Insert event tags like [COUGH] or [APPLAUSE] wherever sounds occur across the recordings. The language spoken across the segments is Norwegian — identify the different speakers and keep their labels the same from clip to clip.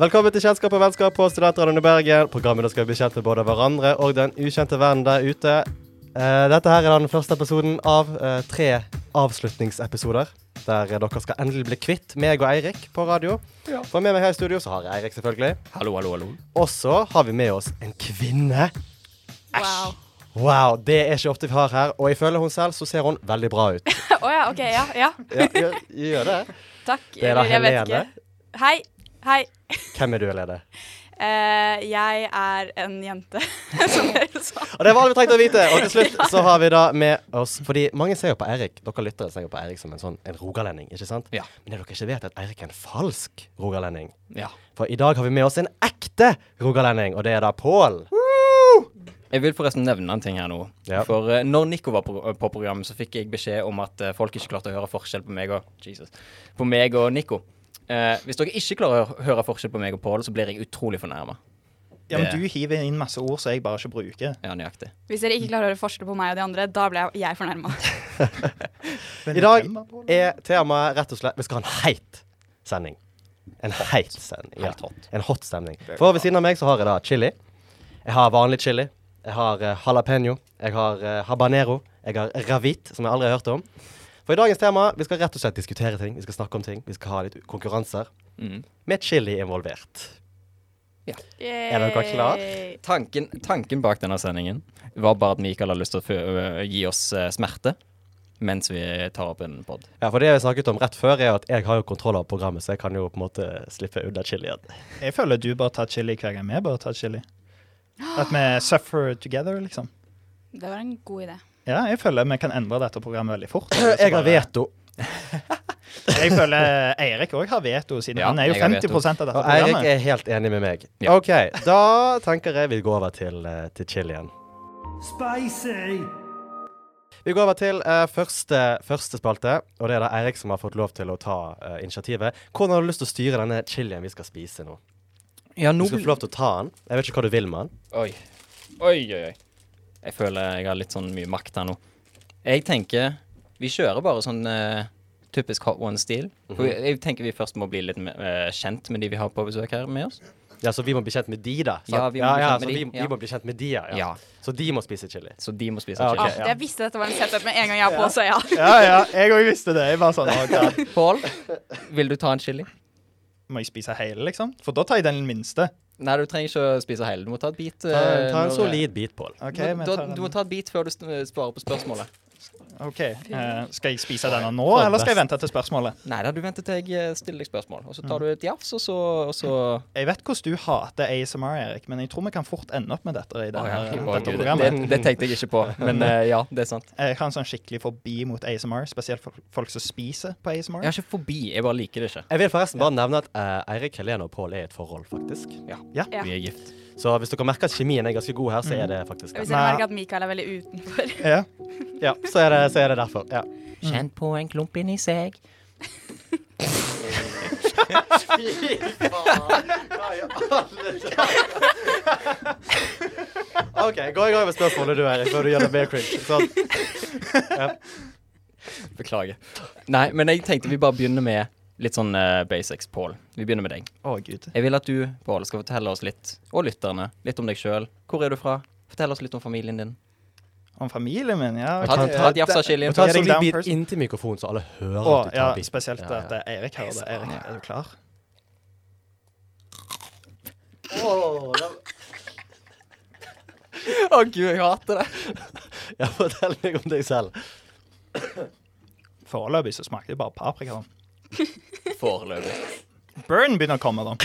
Speaker 1: Velkommen til Kjennskap og vennskap på Studentradioen i Bergen. Programmet der skal vi bli kjent med både hverandre og den ukjente verden der ute. Eh, dette her er den første episoden av eh, tre avslutningsepisoder. Der eh, dere skal endelig bli kvitt meg og Eirik på radio. For med meg her i studio så har jeg Eirik, selvfølgelig.
Speaker 2: Hallo, hallo, hallo.
Speaker 1: Og så har vi med oss en kvinne.
Speaker 3: Wow. [LAUGHS]
Speaker 1: Wow, det er ikke ofte vi har her. Og ifølge hun selv så ser hun veldig bra ut.
Speaker 3: Å ja, OK. Ja. ja.
Speaker 1: Ja, gjør, gjør det.
Speaker 3: Takk.
Speaker 1: Det er da
Speaker 3: Jeg vet
Speaker 1: Helene.
Speaker 3: ikke. Hei. Hei.
Speaker 1: Hvem er du, Helene?
Speaker 3: Eh, jeg er en jente, [LAUGHS] som sånn. dere sa.
Speaker 1: Og det var alt vi trengte å vite. Og til slutt så har vi da med oss Fordi mange ser jo på Eirik. Dere lyttere ser jo på Eirik som en sånn en rogalending, ikke sant?
Speaker 2: Ja.
Speaker 1: Men det dere ikke vet, er at Eirik er en falsk rogalending.
Speaker 2: Ja.
Speaker 1: For i dag har vi med oss en ekte rogalending, og det er da Pål.
Speaker 2: Jeg vil forresten nevne en ting her nå.
Speaker 1: Ja.
Speaker 2: For eh, når Nico var på, på programmet, så fikk jeg beskjed om at eh, folk ikke klarte å høre forskjell på meg og Jesus. På meg og Nico. Eh, hvis dere ikke klarer å høre forskjell på meg og Pål, så blir jeg utrolig fornærma.
Speaker 4: Ja, men du hiver inn masse ord som jeg bare ikke bruker.
Speaker 2: Ja, nøyaktig.
Speaker 3: Hvis dere ikke klarer å høre forskjell på meg og de andre, da ble jeg- jeg fornærma.
Speaker 4: Men
Speaker 1: I dag
Speaker 4: hvem er Pål?
Speaker 1: er temaet rett og slett Vi skal ha en heit sending. En heit sending. Ja.
Speaker 2: Helt hot.
Speaker 1: En hot stemning. For ved siden av meg så har jeg da chili. Jeg har vanlig chili. Jeg har eh, jalapeño. Jeg har eh, habanero. Jeg har ravit, som jeg aldri har hørt om. For i dagens tema vi skal rett og slett diskutere ting. Vi skal snakke om ting. Vi skal ha litt konkurranser.
Speaker 2: Mm.
Speaker 1: Med chili involvert.
Speaker 3: Er
Speaker 1: dere klar?
Speaker 2: Tanken, tanken bak denne sendingen var bare at Mikael har lyst til å fø- øh, gi oss eh, smerte mens vi tar opp en pod.
Speaker 1: Ja, For det vi snakket om rett før, er at jeg har jo kontroll over programmet, så jeg kan jo på en måte slippe unna chilien.
Speaker 4: Jeg føler du bør ta chili hver gang vi bør ta chili. At vi suffer together, liksom.
Speaker 3: Det var en god idé.
Speaker 4: Ja, jeg føler vi kan endre dette programmet veldig fort.
Speaker 1: Jeg har veto.
Speaker 4: Jeg føler Eirik òg har veto, siden
Speaker 2: Ja,
Speaker 4: han er jo
Speaker 2: jeg har veto.
Speaker 4: 50 av dette
Speaker 1: Og Eirik
Speaker 4: programmet.
Speaker 1: er helt enig med meg.
Speaker 2: Ja.
Speaker 1: OK, da tenker jeg vi går over til, eh, til chilien.
Speaker 5: Spicy.
Speaker 1: Vi går over til eh, første, første spalte, og det er da Eirik som har fått lov til å ta eh, initiativet. Hvordan har du lyst til å styre denne chilien vi skal spise nå?
Speaker 2: Ja,
Speaker 1: Du skal få lov til å ta den. Jeg vet ikke hva du vil med den.
Speaker 2: Oi. Oi, oi, oi. Jeg føler jeg har litt sånn mye makt her nå. Jeg tenker vi kjører bare sånn eh, typisk Hot One-stil. For jeg- Jeg tenker vi først må bli litt me- eh, kjent med de vi har på besøk her med oss.
Speaker 1: Ja, Så vi må bli kjent med de, da. sant?
Speaker 2: Ja, vi må
Speaker 1: ja,
Speaker 2: bli
Speaker 1: ja,
Speaker 2: kjent
Speaker 1: så
Speaker 2: med de,
Speaker 1: vi,
Speaker 2: ja.
Speaker 1: vi må bli kjent med de, ja. ja.
Speaker 2: Ja.
Speaker 1: Så de må spise chili.
Speaker 2: Så de må spise
Speaker 1: Ja, ok.
Speaker 2: chili.
Speaker 3: Ah, Jeg visste dette var en setup med en gang jeg var på, så ja.
Speaker 4: Ja, ja, jeg òg visste det. Jeg bare sånn, å, God.
Speaker 2: Pål, vil du ta en chili?
Speaker 4: Må jeg spise hele, liksom? For da tar jeg den minste.
Speaker 2: Nei, du trenger ikke å spise hele. Du må ta et bit.
Speaker 1: Ta,
Speaker 2: eh,
Speaker 1: ta en
Speaker 2: når-
Speaker 1: solid bit, Pål.
Speaker 4: Ok,
Speaker 2: Du-
Speaker 4: men
Speaker 2: du,
Speaker 4: jeg tar den.
Speaker 2: du må ta et bit før du st- svarer på spørsmålet.
Speaker 4: Ok, eh, Skal jeg spise denne nå, eller skal jeg vente til spørsmålet?
Speaker 2: Nei da, du venter til jeg eh, stiller deg spørsmål. Og så tar du et jafs, og så, og så
Speaker 4: Jeg vet hvordan du hater ASMR, Erik, men jeg tror vi kan fort ende opp med dette i
Speaker 2: Å,
Speaker 4: denne,
Speaker 2: ja. Å,
Speaker 4: dette
Speaker 2: Gud,
Speaker 4: programmet.
Speaker 2: det, det tenkte jeg ikke på, men eh, ja, det er sant.
Speaker 4: Jeg har en sånn skikkelig forbi mot ASMR, spesielt for folk som spiser på ASMR.
Speaker 2: Jeg er ikke forbi, jeg bare liker det ikke.
Speaker 1: Jeg vil forresten bare nevne at eh, Eirik, Helene og Pål er i et forhold, faktisk.
Speaker 3: Ja.
Speaker 2: Vi er gift.
Speaker 1: Så hvis dere merker at kjemien er ganske god her,
Speaker 4: Mm.
Speaker 1: så er det faktisk det.
Speaker 3: Hvis dere merker at Mikael er veldig utenfor.
Speaker 4: Ja.
Speaker 1: Ja, så er det, så er det derfor. Ja.
Speaker 2: Kjent på en klump inni seg.
Speaker 1: OK, gå i gang med spørsmålet du, Eirik, før du gjør det mer cringe.
Speaker 4: [LAUGHS]
Speaker 1: Sånn.
Speaker 2: Beklager. Nei, men jeg tenkte vi bare begynner med litt sånn eh, basics, Pål. Vi begynner med deg.
Speaker 4: Å, gud.
Speaker 2: Jeg vil at du, Pål, skal fortelle oss litt, og lytterne, litt om deg sjøl. Hvor er du fra? Fortell oss litt om familien din.
Speaker 4: Om familien min, ja.
Speaker 2: Ta,
Speaker 1: kan-
Speaker 2: ta et jafs av chilien.
Speaker 1: Og ta en
Speaker 4: Getting
Speaker 1: solid
Speaker 4: down
Speaker 1: bit
Speaker 4: person.
Speaker 1: inntil mikrofonen, så alle hører
Speaker 4: Å,
Speaker 1: at du tar
Speaker 4: ja,
Speaker 1: bit.
Speaker 4: spesielt
Speaker 1: Ja, ja.
Speaker 4: at eh, Erik hører det. Erik, er du klar?
Speaker 2: [LAUGHS] Å gud, jeg hater det.
Speaker 1: [LAUGHS] Ja, fortell meg om deg selv.
Speaker 4: Foreløpig så smakte det bare paprika. da.
Speaker 2: Foreløpig.
Speaker 4: Burn begynner å
Speaker 2: [LAUGHS]
Speaker 4: komme, da.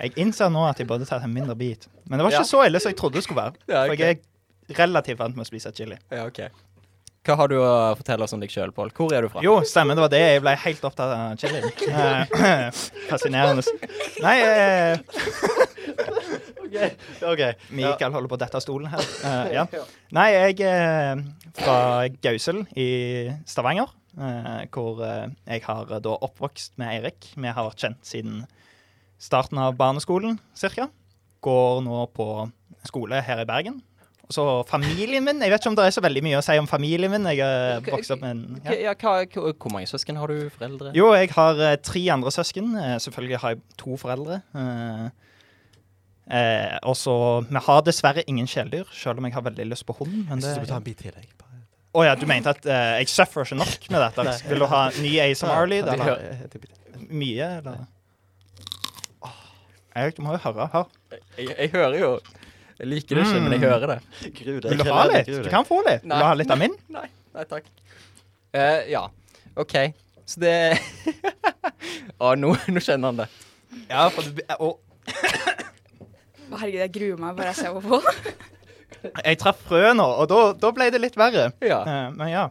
Speaker 4: Jeg innser nå at jeg burde tatt en mindre bit. Men det var ikke
Speaker 2: Ja.
Speaker 4: så ille som jeg trodde det skulle være.
Speaker 2: Ja,
Speaker 4: For
Speaker 2: ok.
Speaker 4: jeg er relativt vant med å spise chili.
Speaker 2: Ja, ok. Hva har du å fortelle oss om deg sjøl, Pål? Hvor er du fra?
Speaker 4: Jo, stemmer. Det var det. Jeg ble helt opptatt av chili. Eh, [LAUGHS] Fascinerende. Nei, eh,
Speaker 1: OK.
Speaker 4: Mikael holder på å dette av stolen her. Eh, ja. Nei, jeg er fra Gausel i Stavanger, eh, hvor eh, jeg har eh, da oppvokst med Eirik. Vi har vært kjent siden starten av barneskolen, cirka. Går nå på skole her i Bergen. Så familien min Jeg vet ikke om det er så veldig mye å si om familien min. Jeg er
Speaker 2: Hva-
Speaker 4: vokst opp med en ja.
Speaker 2: Hva- Ja, hva, hva, hvor mange søsken har du? Foreldre?
Speaker 4: Jo, jeg har eh, tre andre søsken. Eh, Selvfølgelig har jeg to foreldre. Eh, eh, og så Vi har dessverre ingen kjæledyr, selv om jeg har veldig lyst på hund. Men det,
Speaker 1: synes du må ta en bit til, jeg. Bare-
Speaker 4: Å ja, du mente at eh, jeg suffer ikke nok med dette?
Speaker 1: Nei.
Speaker 4: Vil du ha ny ASMR-lyd?
Speaker 1: Ta- ta-
Speaker 4: Eller
Speaker 1: ta- ta- ta-
Speaker 4: mye, eller? Jeg, du må jo høre. Hør.
Speaker 2: Jeg, jeg hører jo Jeg liker det ikke, men jeg hører det.
Speaker 1: Gru deg.
Speaker 4: Vil du ha litt?
Speaker 1: Gru
Speaker 4: Du
Speaker 1: deg.
Speaker 4: kan få litt. Vil du ha litt av min?
Speaker 2: Nei, nei takk. Eh, ja, OK. Så det [LAUGHS] Å, nå, nå kjenner han det.
Speaker 4: Ja, for du, eh, og
Speaker 3: Herregud, jeg gruer meg bare jeg ser på folk.
Speaker 4: jeg traff frø nå, og da, da ble det litt verre.
Speaker 2: Ja.
Speaker 4: Eh, men ja.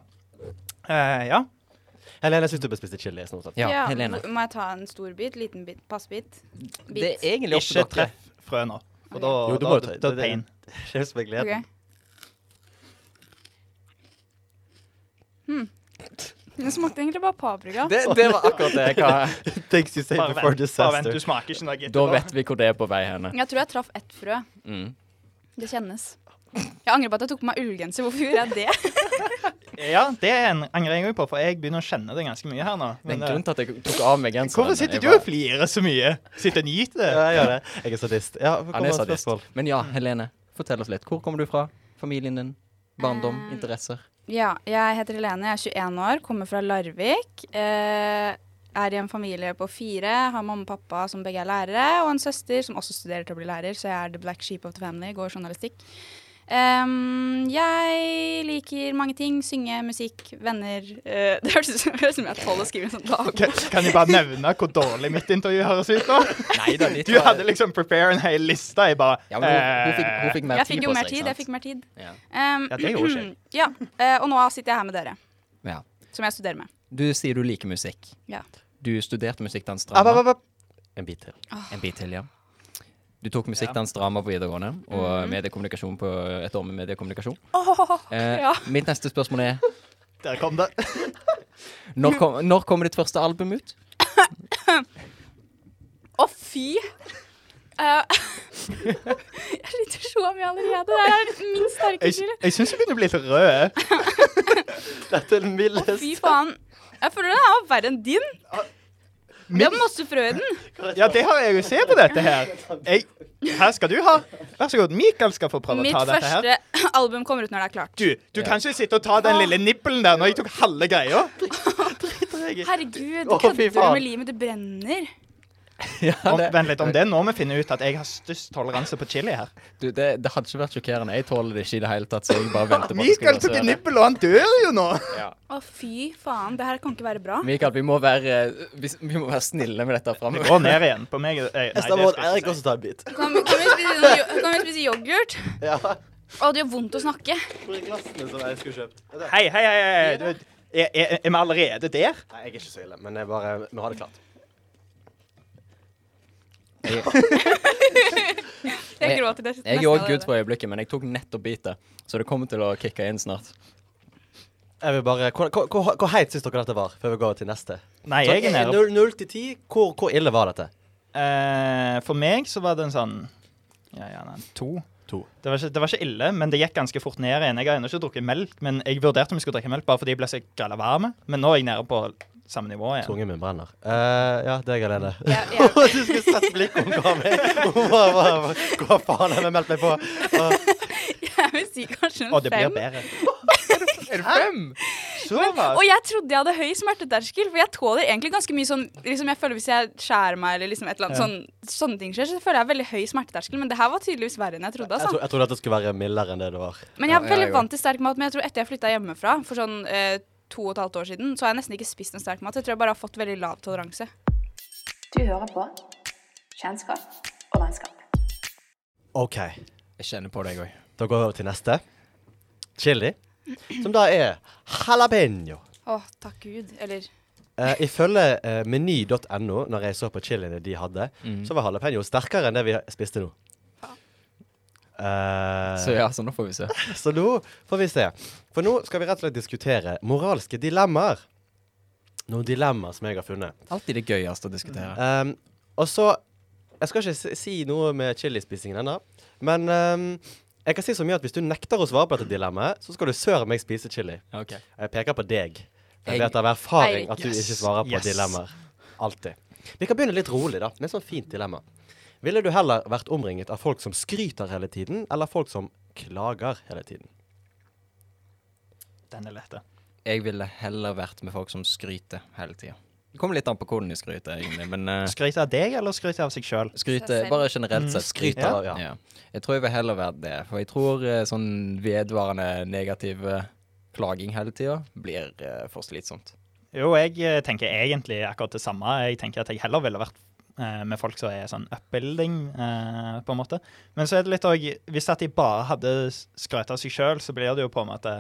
Speaker 4: Eh, ja.
Speaker 1: Helene, jeg syns du bør spise chili. Sånn sett.
Speaker 2: Ja, Helene.
Speaker 3: Må jeg ta en stor bit? Liten bit? Passbit? Bit?
Speaker 2: Det er egentlig opp til
Speaker 4: Ikke
Speaker 2: dere.
Speaker 4: treff frø nå. For da,
Speaker 1: Jo, du
Speaker 4: da,
Speaker 1: må
Speaker 4: da,
Speaker 1: ta-
Speaker 4: da,
Speaker 1: det- det-
Speaker 4: pain.
Speaker 1: Kjøs med [LAUGHS] gleden.
Speaker 3: Ok. Hmm. Den smakte egentlig bare paprika.
Speaker 2: Det, det var akkurat det jeg har.
Speaker 4: [LAUGHS]
Speaker 1: Things you say
Speaker 4: Bare
Speaker 1: before
Speaker 4: vent, bare vent,
Speaker 1: disaster.
Speaker 4: du smaker ikke noe etterpå.
Speaker 2: Da vet vi hvor det er på vei henne.
Speaker 3: Jeg tror jeg traff ett frø.
Speaker 2: Mm.
Speaker 3: Det kjennes. Jeg angrer på at jeg tok på meg ullgenser. Hvorfor gjorde jeg det?
Speaker 4: Ja, det er en angrer jeg òg på, for jeg begynner å kjenne det ganske mye her nå.
Speaker 2: Det er en
Speaker 4: eh,
Speaker 2: grunn til at jeg tok av meg genseren.
Speaker 4: hvorfor sitter
Speaker 2: Jeg
Speaker 4: du og
Speaker 2: bare-
Speaker 4: flirer så mye? Sitter og nyter det?
Speaker 1: Ja, jeg gjør det. Jeg er sadist. Ja, kom
Speaker 2: Han
Speaker 1: med
Speaker 2: er
Speaker 1: et
Speaker 2: sadist.
Speaker 1: spørsmål.
Speaker 2: Men ja, Helene, fortell oss litt. Hvor kommer du fra? Familien din? Barndom?
Speaker 3: Eh, [LAUGHS]
Speaker 2: Interesser?
Speaker 3: Ja, jeg heter Helene, jeg er 21 år, kommer fra Larvik. Eh, er i en familie på fire, har mamma og pappa som begge er lærere, og en søster som også studerer til å bli lærer, så jeg er the black sheep of the family, går journalistikk. Ehm, jeg liker mange ting. Synge, musikk, venner eh, [LAUGHS] Det høres ut som høres ut som jeg er tolv og skriver en sånn dagbok.
Speaker 4: Kan, kan jeg bare nevne hvor dårlig mitt intervju høres ut nå?
Speaker 2: Nei da, ditt
Speaker 4: Du hadde liksom prepare en hel liste. Jeg bare eh,
Speaker 2: ja, men hun, hun, fikk, hun fikk mer
Speaker 3: Jeg
Speaker 2: tid
Speaker 3: fikk
Speaker 2: på
Speaker 3: jo mer
Speaker 2: seg,
Speaker 3: tid.
Speaker 2: sant?
Speaker 3: Jeg fikk mer tid.
Speaker 2: Ja.
Speaker 3: Ehm,
Speaker 4: Ja,
Speaker 3: [CLEARS THROAT]
Speaker 4: det gjorde ikke jeg.
Speaker 3: ja, eh, og nå sitter jeg her med dere,
Speaker 2: Ja.
Speaker 3: som jeg studerer med.
Speaker 2: Du sier du liker musikk.
Speaker 3: Ja.
Speaker 2: Du studerte musikkdans
Speaker 1: App, app,
Speaker 2: drama.
Speaker 1: app, app. En bit til.
Speaker 2: En bit til, ja. Du tok musikkdans drama på videregående og mediekommunikasjon på et år med mediekommunikasjon. Eh,
Speaker 3: ja.
Speaker 2: Mitt neste spørsmål er
Speaker 4: Der kom det.
Speaker 2: når, kom, når kommer ditt første album ut?
Speaker 3: Å, fy! Eh, [LAUGHS] jeg sliter så mye allerede. Det er min sterke
Speaker 4: Jeg,
Speaker 3: skyld.
Speaker 4: jeg syns jeg begynner å bli litt rød.
Speaker 1: Dette er den mildeste
Speaker 3: Fy faen. Jeg føler den er verre enn din. Det er masse frø i den.
Speaker 4: Ja, det har jeg jo se på dette her. Jeg, her skal du ha. Vær så god. Mikael skal få prøve å
Speaker 3: Mitt
Speaker 4: ta dette her.
Speaker 3: første [LAUGHS] album kommer ut når det er klart.
Speaker 4: Du, du kan ikke sitte og ta den lille nippelen der når jeg tok halve greia.
Speaker 3: Herregud,
Speaker 1: Å, fy
Speaker 3: kødder du
Speaker 1: faen.
Speaker 3: med livet? Det brenner.
Speaker 2: Ja,
Speaker 4: Om,
Speaker 2: det,
Speaker 4: vent litt, om det er nå vi finner ut at jeg har størst toleranse på chili her.
Speaker 2: du, det, det hadde ikke vært sjokkerende. Jeg tåler det ikke i det hele tatt. Så jeg bare venter på at det skal
Speaker 4: Mikael
Speaker 2: gå så
Speaker 4: tok en
Speaker 2: det.
Speaker 4: nippel, og han dør jo nå.
Speaker 3: Å, fy faen. Det her kan ikke være bra.
Speaker 2: Mikael, vi må være, vi, vi må være snille med dette framover.
Speaker 4: Gå ned igjen. På meg eh, Nei, det
Speaker 1: Neste
Speaker 4: skal
Speaker 1: må
Speaker 4: jeg
Speaker 1: Eirik
Speaker 4: ikke si.
Speaker 1: også ta en bit.
Speaker 3: Kan, vi- kan, vi spise, noe yo- kan vi spise yoghurt?
Speaker 1: Ja.
Speaker 3: Å, det gjør vondt å snakke.
Speaker 1: Hvor er glassene som jeg skulle kjøpt? Nei,
Speaker 4: Hei, hei, hei. hei. Du, er, er, er vi allerede der?
Speaker 1: jeg er ikke så ille, men jeg bare Vi har det klart.
Speaker 2: Jeg,
Speaker 3: Jeg
Speaker 2: Jeg-
Speaker 3: gråter. det
Speaker 2: [LAUGHS] jeg
Speaker 3: nesten
Speaker 2: er òg good
Speaker 3: allerede.
Speaker 2: for øyeblikket, men jeg tok nettopp bitet. Så det kommer til å kicke inn snart.
Speaker 1: Jeg vil bare Hvor, hvor, hvor, hvor heit syns dere dette var, før vi går til neste?
Speaker 4: Nei, jeg er nede.
Speaker 1: Null null til ti. Hvor, hvor ille var dette?
Speaker 4: Eh, for meg så var det en sånn ja, ja, nei, to.
Speaker 1: To.
Speaker 4: Det var, ikke, det var ikke ille, men det gikk ganske fort ned igjen. Jeg har ennå ikke drukket melk, men jeg vurderte om jeg skulle drikke melk bare fordi jeg ble så galla varm. Men nå er jeg nede på samme nivå igjen.
Speaker 1: Tungen min brenner. Eh, ja, deg [LAUGHS] alene.
Speaker 3: Ja, ja.
Speaker 1: du skulle sett blikket hun ga meg! Hun bare, bare, Hva faen har jeg meldt meg på?
Speaker 3: Jeg vil si kanskje en
Speaker 4: Og det blir
Speaker 3: fem.
Speaker 4: bedre.
Speaker 2: Er det fem?
Speaker 4: Så var
Speaker 3: Og jeg trodde jeg hadde høy smerteterskel, for jeg tåler egentlig ganske mye sånn liksom Jeg føler Hvis jeg skjærer meg eller liksom et eller annet
Speaker 4: Ja.
Speaker 3: sånn, sånne ting skjer, så føler jeg veldig høy smerteterskel. Men det her var tydeligvis verre enn jeg trodde.
Speaker 1: Jeg,
Speaker 3: Altså.
Speaker 1: tro, jeg trodde dette skulle være mildere enn det det var.
Speaker 3: Men jeg
Speaker 2: Ja,
Speaker 3: er
Speaker 2: ja,
Speaker 3: veldig
Speaker 2: jeg
Speaker 3: vant til sterk mat. Men jeg tror etter jeg flytta hjemmefra for sånn eh, to og et halvt år siden, så har jeg nesten ikke spist noe sterk mat. Jeg tror jeg bare har fått veldig lav toleranse.
Speaker 6: Du hører på Kjennskap og vennskap.
Speaker 1: OK.
Speaker 2: Jeg kjenner på det, jeg òg.
Speaker 1: Da går vi over til neste. Chili. Som da er jalapeño.
Speaker 3: Å, takk gud. Eller
Speaker 1: Eh, ifølge eh, meny.no, når jeg så på chiliene de hadde,
Speaker 2: Mm.
Speaker 1: så var jalapeño sterkere enn det vi spiste nå. Eh,
Speaker 2: Så ja, så nå får vi se.
Speaker 1: så nå får vi se. For nå skal vi rett og slett diskutere moralske dilemmaer. Noen dilemmaer som jeg har funnet.
Speaker 2: Alltid det gøyeste å diskutere.
Speaker 1: Um, og så Jeg skal ikke si, si noe med chilispisingen ennå, men um, Jeg kan si så mye at Hvis du nekter å svare på dette dilemmaet, så skal du søren meg spise chili.
Speaker 2: Ok.
Speaker 1: Jeg peker på deg. For jeg
Speaker 2: Jeg-
Speaker 1: vet av erfaring
Speaker 3: Eirik.
Speaker 1: at du
Speaker 4: Yes,
Speaker 1: ikke svarer på
Speaker 4: yes.
Speaker 1: dilemmaer. Alltid. Vi kan begynne litt rolig, da, med et sånt fint dilemma. Ville du heller vært omringet av folk som skryter hele tiden, eller folk som klager hele tiden?
Speaker 4: Den er lette.
Speaker 2: Jeg ville heller vært med folk som skryter hele tida. Det kommer litt an på hvordan de skryter, egentlig, men eh,
Speaker 4: Skryte av deg, eller skryte av seg sjøl?
Speaker 2: skryter
Speaker 3: Seg selv.
Speaker 2: bare generelt sett.
Speaker 1: skryter,
Speaker 2: skryter,
Speaker 1: ja.
Speaker 2: Jeg tror jeg vil heller være det, for jeg tror eh, sånn vedvarende negativ eh, klaging hele tida blir eh, for slitsomt.
Speaker 4: Jo, jeg eh, tenker egentlig akkurat det samme. Jeg tenker at jeg heller ville vært eh, med folk som er sånn upbuilding, eh, på en måte. Men så er det litt òg Hvis at de bare hadde skrøt av seg sjøl, så blir det jo på en måte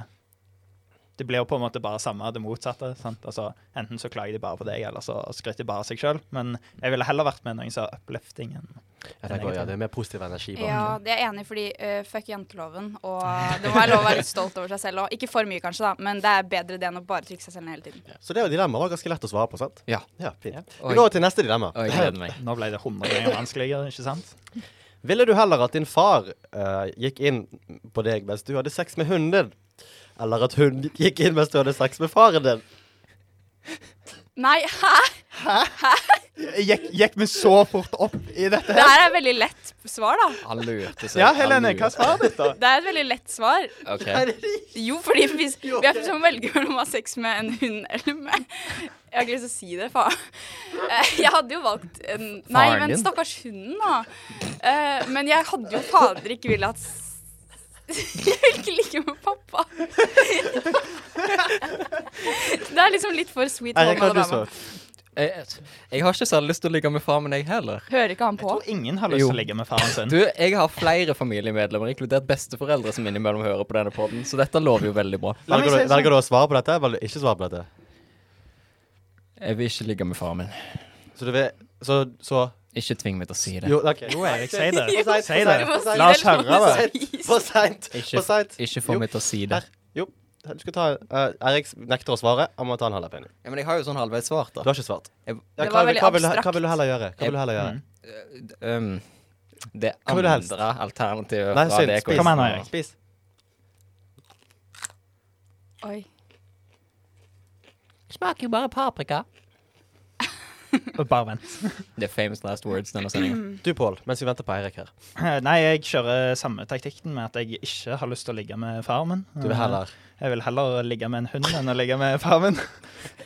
Speaker 4: Det blir jo på en måte bare samme, det motsatte. sant? Altså, Enten så klager de bare på deg, eller så skryter de bare av seg sjøl. Men jeg ville heller vært med noen som har uplifting enn
Speaker 1: Jeg tenker, ja, Det er mer positiv energi bak.
Speaker 3: Ja, det er jeg enig i, fordi eh, fuck janteloven. Og det må være lov å være litt stolt over seg selv òg. Ikke for mye, kanskje, da, men det er bedre det enn å bare trykke seg selv ned hele tiden.
Speaker 1: Så det dilemmaet var ganske lett å svare på, sant?
Speaker 2: Ja.
Speaker 1: Ja, fint.
Speaker 2: Oi.
Speaker 1: Vi går til neste dilemma.
Speaker 2: Og jeg gleder meg.
Speaker 4: Nå ble det 100 ganger vanskeligere, ikke sant?
Speaker 1: Ville du heller at din far eh, gikk inn på deg mens du hadde sex med hunden din, eller at hun gikk inn mens du hadde sex med faren din?
Speaker 3: Nei, [LAUGHS] hæ?
Speaker 4: Gikk, gikk vi så fort opp i dette?
Speaker 3: Det her er et veldig lett svar, da.
Speaker 2: Han lurte seg.
Speaker 4: Ja,
Speaker 2: han
Speaker 4: Helene, hva
Speaker 2: lurte.
Speaker 4: svarer ditt, da?
Speaker 3: Det er et veldig lett svar.
Speaker 2: Ok.
Speaker 3: Jo,
Speaker 4: [LAUGHS]
Speaker 3: fordi hvis vi er som velger mellom å ha sex med en hund eller med Jeg har ikke lyst til å si det, faen. Eh, Jeg hadde jo valgt en Nei,
Speaker 2: Faren
Speaker 3: men
Speaker 2: din?
Speaker 3: stakkars hunden, da. Eh, Men jeg hadde jo fader ikke villet at s- Jeg vil ikke ligge med pappa. [LAUGHS] Det er liksom litt for sweet
Speaker 1: Eirik, hva
Speaker 3: home
Speaker 1: har du
Speaker 3: Alabama.
Speaker 1: svart?
Speaker 2: Jeg, jeg har ikke særlig lyst til å ligge med faren min, jeg heller.
Speaker 3: Hører ikke han
Speaker 4: Jeg
Speaker 3: på?
Speaker 4: tror ingen har lyst
Speaker 2: Jo.
Speaker 4: til å ligge med faren sin.
Speaker 1: [LAUGHS]
Speaker 2: Du, jeg har flere familiemedlemmer, inkludert besteforeldre, som innimellom hører på denne podden, så dette lover jo veldig bra.
Speaker 4: La meg
Speaker 1: Velger du,
Speaker 4: si det sånn.
Speaker 1: velger du å svare på dette, eller velger du ikke svare på dette?
Speaker 2: Jeg vil ikke ligge med faren min.
Speaker 1: Så du vil Så, så
Speaker 2: Ikke tving meg til å si det.
Speaker 1: [LAUGHS] Jo, OK.
Speaker 4: Jo, Erik, si
Speaker 1: [LAUGHS]
Speaker 4: det.
Speaker 1: For seint,
Speaker 4: Si
Speaker 1: for seint,
Speaker 4: det.
Speaker 1: for
Speaker 4: La oss
Speaker 1: seint.
Speaker 4: høre
Speaker 1: For
Speaker 4: det.
Speaker 1: seint, For seint.
Speaker 2: Ikke,
Speaker 1: For seint.
Speaker 2: ikke
Speaker 1: Jo.
Speaker 2: få meg til å si det.
Speaker 1: Her. Jo, du skal ta eh, Eirik nekter å svare. Han må ta en jalapeno.
Speaker 2: Ja, men jeg har jo sånn halvveis svart,
Speaker 1: Du
Speaker 2: da.
Speaker 1: har ikke svart.
Speaker 2: Jeg-
Speaker 1: Ja,
Speaker 3: Det
Speaker 1: hva,
Speaker 3: var
Speaker 1: vil-
Speaker 3: veldig
Speaker 1: hva, vil, du- hva
Speaker 3: abstrakt.
Speaker 1: vil du heller gjøre? Hva vil du heller gjøre?
Speaker 4: Mm.
Speaker 2: Um, det
Speaker 1: Hva vil du helst?
Speaker 2: andre alternativet
Speaker 1: Nei,
Speaker 2: fra
Speaker 1: synd,
Speaker 2: det
Speaker 1: spis.
Speaker 4: Kom igjen, Erik.
Speaker 1: Spis.
Speaker 3: Oi.
Speaker 2: Smaker jo bare paprika.
Speaker 4: Bare vent.
Speaker 2: The famous last words denne sendingen.
Speaker 3: Mm.
Speaker 1: Du, Pål, mens vi venter på Eirik her.
Speaker 4: Eh, Nei, jeg kjører samme taktikken med at jeg ikke har lyst til å ligge med faren min. Eh,
Speaker 1: Du vil
Speaker 2: Mm.
Speaker 1: heller
Speaker 4: Jeg vil heller ligge med en hund enn å ligge med faren min.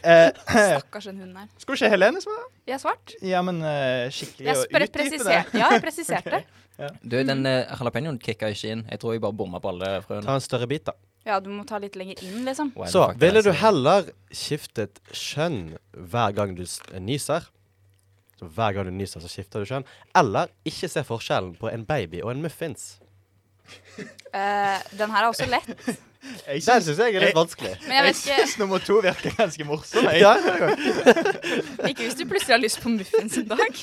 Speaker 4: [LAUGHS]
Speaker 3: Stakkars den hunden her.
Speaker 4: Skulle ikke Helene svare?
Speaker 3: Jeg har svart.
Speaker 4: Ja, men eh, skikkelig
Speaker 3: Jeg
Speaker 4: å
Speaker 3: spre-
Speaker 4: utdype det.
Speaker 3: presiserte. Ja, jeg presiserte.
Speaker 2: Du, den uh, jalapeñoen kicka ikke inn. Jeg tror jeg bare bomma på alle frøene.
Speaker 1: ta en større bit, da.
Speaker 3: Ja, du må ta litt lenger inn, liksom.
Speaker 2: Why the
Speaker 1: Så
Speaker 2: fuck
Speaker 1: ville
Speaker 2: did I
Speaker 1: du
Speaker 2: say
Speaker 1: heller skiftet kjønn hver gang du s- nyser? Så hver gang du nyser, så skifter du kjønn. Eller ikke se forskjellen på en baby og en muffins.
Speaker 3: Eh, Den her er også lett.
Speaker 1: Den
Speaker 4: Jeg syns,
Speaker 1: syns jeg er litt vanskelig.
Speaker 3: [LAUGHS] Men jeg
Speaker 4: jeg
Speaker 3: vet ikke
Speaker 4: syns nummer to virker ganske morsom. Jeg.
Speaker 1: Ja,
Speaker 3: Ikke hvis du plutselig har lyst på muffins en dag.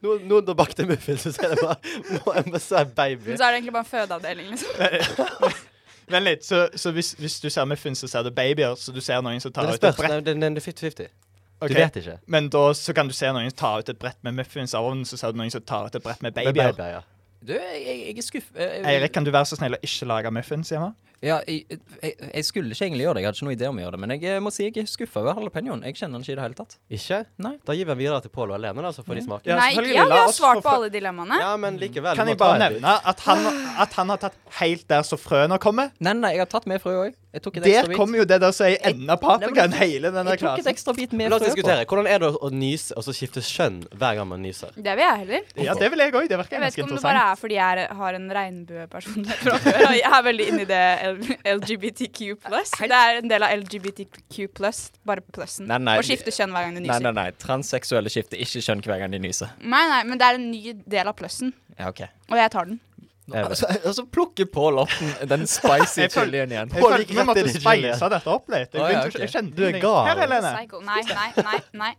Speaker 1: noen, noen der bakte muffins, så er det bare Må jeg bare se en baby?
Speaker 3: Men så er det egentlig bare en fødeavdeling, liksom.
Speaker 4: Vent litt, så, så hvis, hvis du ser muffins, så ser du babyer, så du ser noen som tar
Speaker 1: Det
Speaker 4: ut et
Speaker 1: spørs.
Speaker 4: brett.
Speaker 1: Nei, den- den er 50-50.
Speaker 4: Ok.
Speaker 1: Du vet ikke.
Speaker 4: Men da så kan du se noen som tar ut et brett med muffins av ovnen, så ser du noen som tar ut et brett med
Speaker 1: Med
Speaker 4: babyer.
Speaker 1: babyer, ja.
Speaker 2: Du, jeg, jeg, jeg er skuff... eh, jeg-
Speaker 4: Eirik, kan du være så snill å ikke lage muffins hjemme?
Speaker 2: Ja, jeg, jeg, jeg skulle ikke egentlig gjøre det. Jeg hadde ikke noen idé om å gjøre det. Men jeg eh, må si jeg er skuffa over jalapeñoen. Jeg kjenner den ikke i det hele tatt.
Speaker 1: Ikke?
Speaker 2: Nei.
Speaker 1: Da gir vi den videre til Pål og Alene, da, så får de smake.
Speaker 4: Ja,
Speaker 3: Nei, ikke
Speaker 4: selvfølgelig.
Speaker 3: ja, vi
Speaker 4: La
Speaker 3: har
Speaker 4: oss
Speaker 3: svart
Speaker 4: få-
Speaker 3: på alle dilemmaene.
Speaker 1: Ja, men likevel.
Speaker 4: Kan
Speaker 1: du må
Speaker 4: jeg
Speaker 1: ta
Speaker 4: bare
Speaker 1: en bit.
Speaker 4: nevne at han, at han har tatt helt der som frøene kommer?
Speaker 2: Nei, nei, jeg har tatt med frø òg. Jeg tok et
Speaker 4: Der
Speaker 2: ekstra bit.
Speaker 4: kommer jo det der som er i enden av paprikaen, hele den der
Speaker 2: jeg tok et
Speaker 4: klasen.
Speaker 2: ekstra bit med
Speaker 1: La oss
Speaker 2: frø på.
Speaker 1: diskutere. Hvordan er det å å nyse og så skifte kjønn hver gang man nyser?
Speaker 3: Det vil jeg heller.
Speaker 4: Ja, det vil jeg òg. Det
Speaker 3: Jeg vet
Speaker 4: virker ganske
Speaker 3: ikke om det bare
Speaker 4: interessant.
Speaker 3: er fordi jeg er, har en regnbuepersonlighet fra før. og Jeg er veldig inni det L- LGBTQ pluss. Det er en del av LGBTQ pluss, bare plussen.
Speaker 2: Nei, nei.
Speaker 3: Å skifte kjønn hver gang du
Speaker 2: Nei, nei,
Speaker 3: nyser.
Speaker 2: nei. Transseksuelle skifter ikke kjønn hver gang de nyser.
Speaker 3: Nei, nei, men det er en ny del av plussen,
Speaker 2: Ja, ok.
Speaker 3: og jeg tar den.
Speaker 1: Jeg vet.
Speaker 2: Altså, [LAUGHS] altså plukker Pål opp den- [LAUGHS] den spicy
Speaker 4: Jeg føl-
Speaker 2: chilien igjen.
Speaker 4: Jeg følte
Speaker 1: Påvirker
Speaker 4: vi måtte
Speaker 1: dette ditt liv, ja.
Speaker 4: speise dette opp litt. Jeg
Speaker 2: Å, ja,
Speaker 4: begynte,
Speaker 2: ok.
Speaker 4: jeg kjente
Speaker 1: Du er
Speaker 4: ingenting.
Speaker 1: gal.
Speaker 4: Her, Helene.
Speaker 3: Psycho. Nei, nei, nei. nei.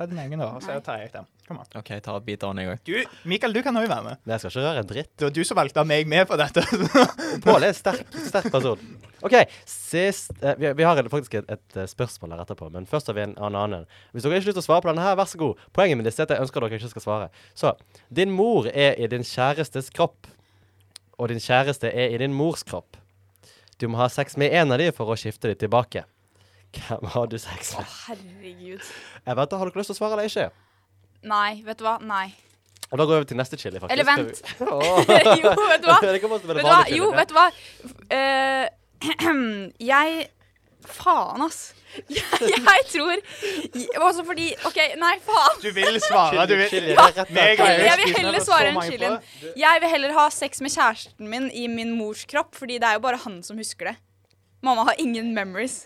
Speaker 4: Ta din egen, da. Så tar jeg den. Kom an.
Speaker 2: OK, jeg tar et bit av den, jeg òg.
Speaker 4: Du, Mikael, du kan òg være med.
Speaker 1: Nei, jeg skal ikke røre en dritt.
Speaker 4: Det var du som valgte meg med på dette.
Speaker 1: Pål er en sterk, sterk person. OK, sist eh, vi, vi har en- faktisk et, et eh, spørsmål her etterpå, men først har vi en en annen. Hvis dere ikke har lyst til å svare på denne, her, vær så god. Poenget med disse er at jeg ønsker dere ikke skal svare. Så Din mor er i din kjærestes kropp. og din kjæreste er i din mors kropp. Du må ha sex med en av de for å skifte de tilbake. Hvem har du sex med?
Speaker 3: Herregud.
Speaker 1: Jeg vet, da Har dere lyst til å svare eller ikke?
Speaker 3: Nei, vet du hva? Nei.
Speaker 1: Og Da går vi over til neste chili, faktisk.
Speaker 3: Eller vent.
Speaker 1: Skal vi- [LAUGHS] Åh.
Speaker 3: [LAUGHS] jo, vet du hva?
Speaker 1: Det kommer til å være
Speaker 3: Vet du hva?
Speaker 1: vanlig chili.
Speaker 3: Jo, vet du hva? Eh, [CLEARS THROAT] jeg Faen, ass. [LAUGHS] Jeg, jeg tror Også fordi OK, nei, faen.
Speaker 4: [LAUGHS] Du vil svare, du vil
Speaker 1: Chili, det er rett
Speaker 4: Meg og
Speaker 1: etter.
Speaker 3: Jeg vil
Speaker 4: spist den
Speaker 3: heller
Speaker 4: her, så
Speaker 3: svare enn
Speaker 4: mange på
Speaker 3: chilien.
Speaker 4: det.
Speaker 3: Jeg vil heller ha sex med kjæresten min i min mors kropp, fordi det er jo bare han som husker det. Mamma har ingen memories.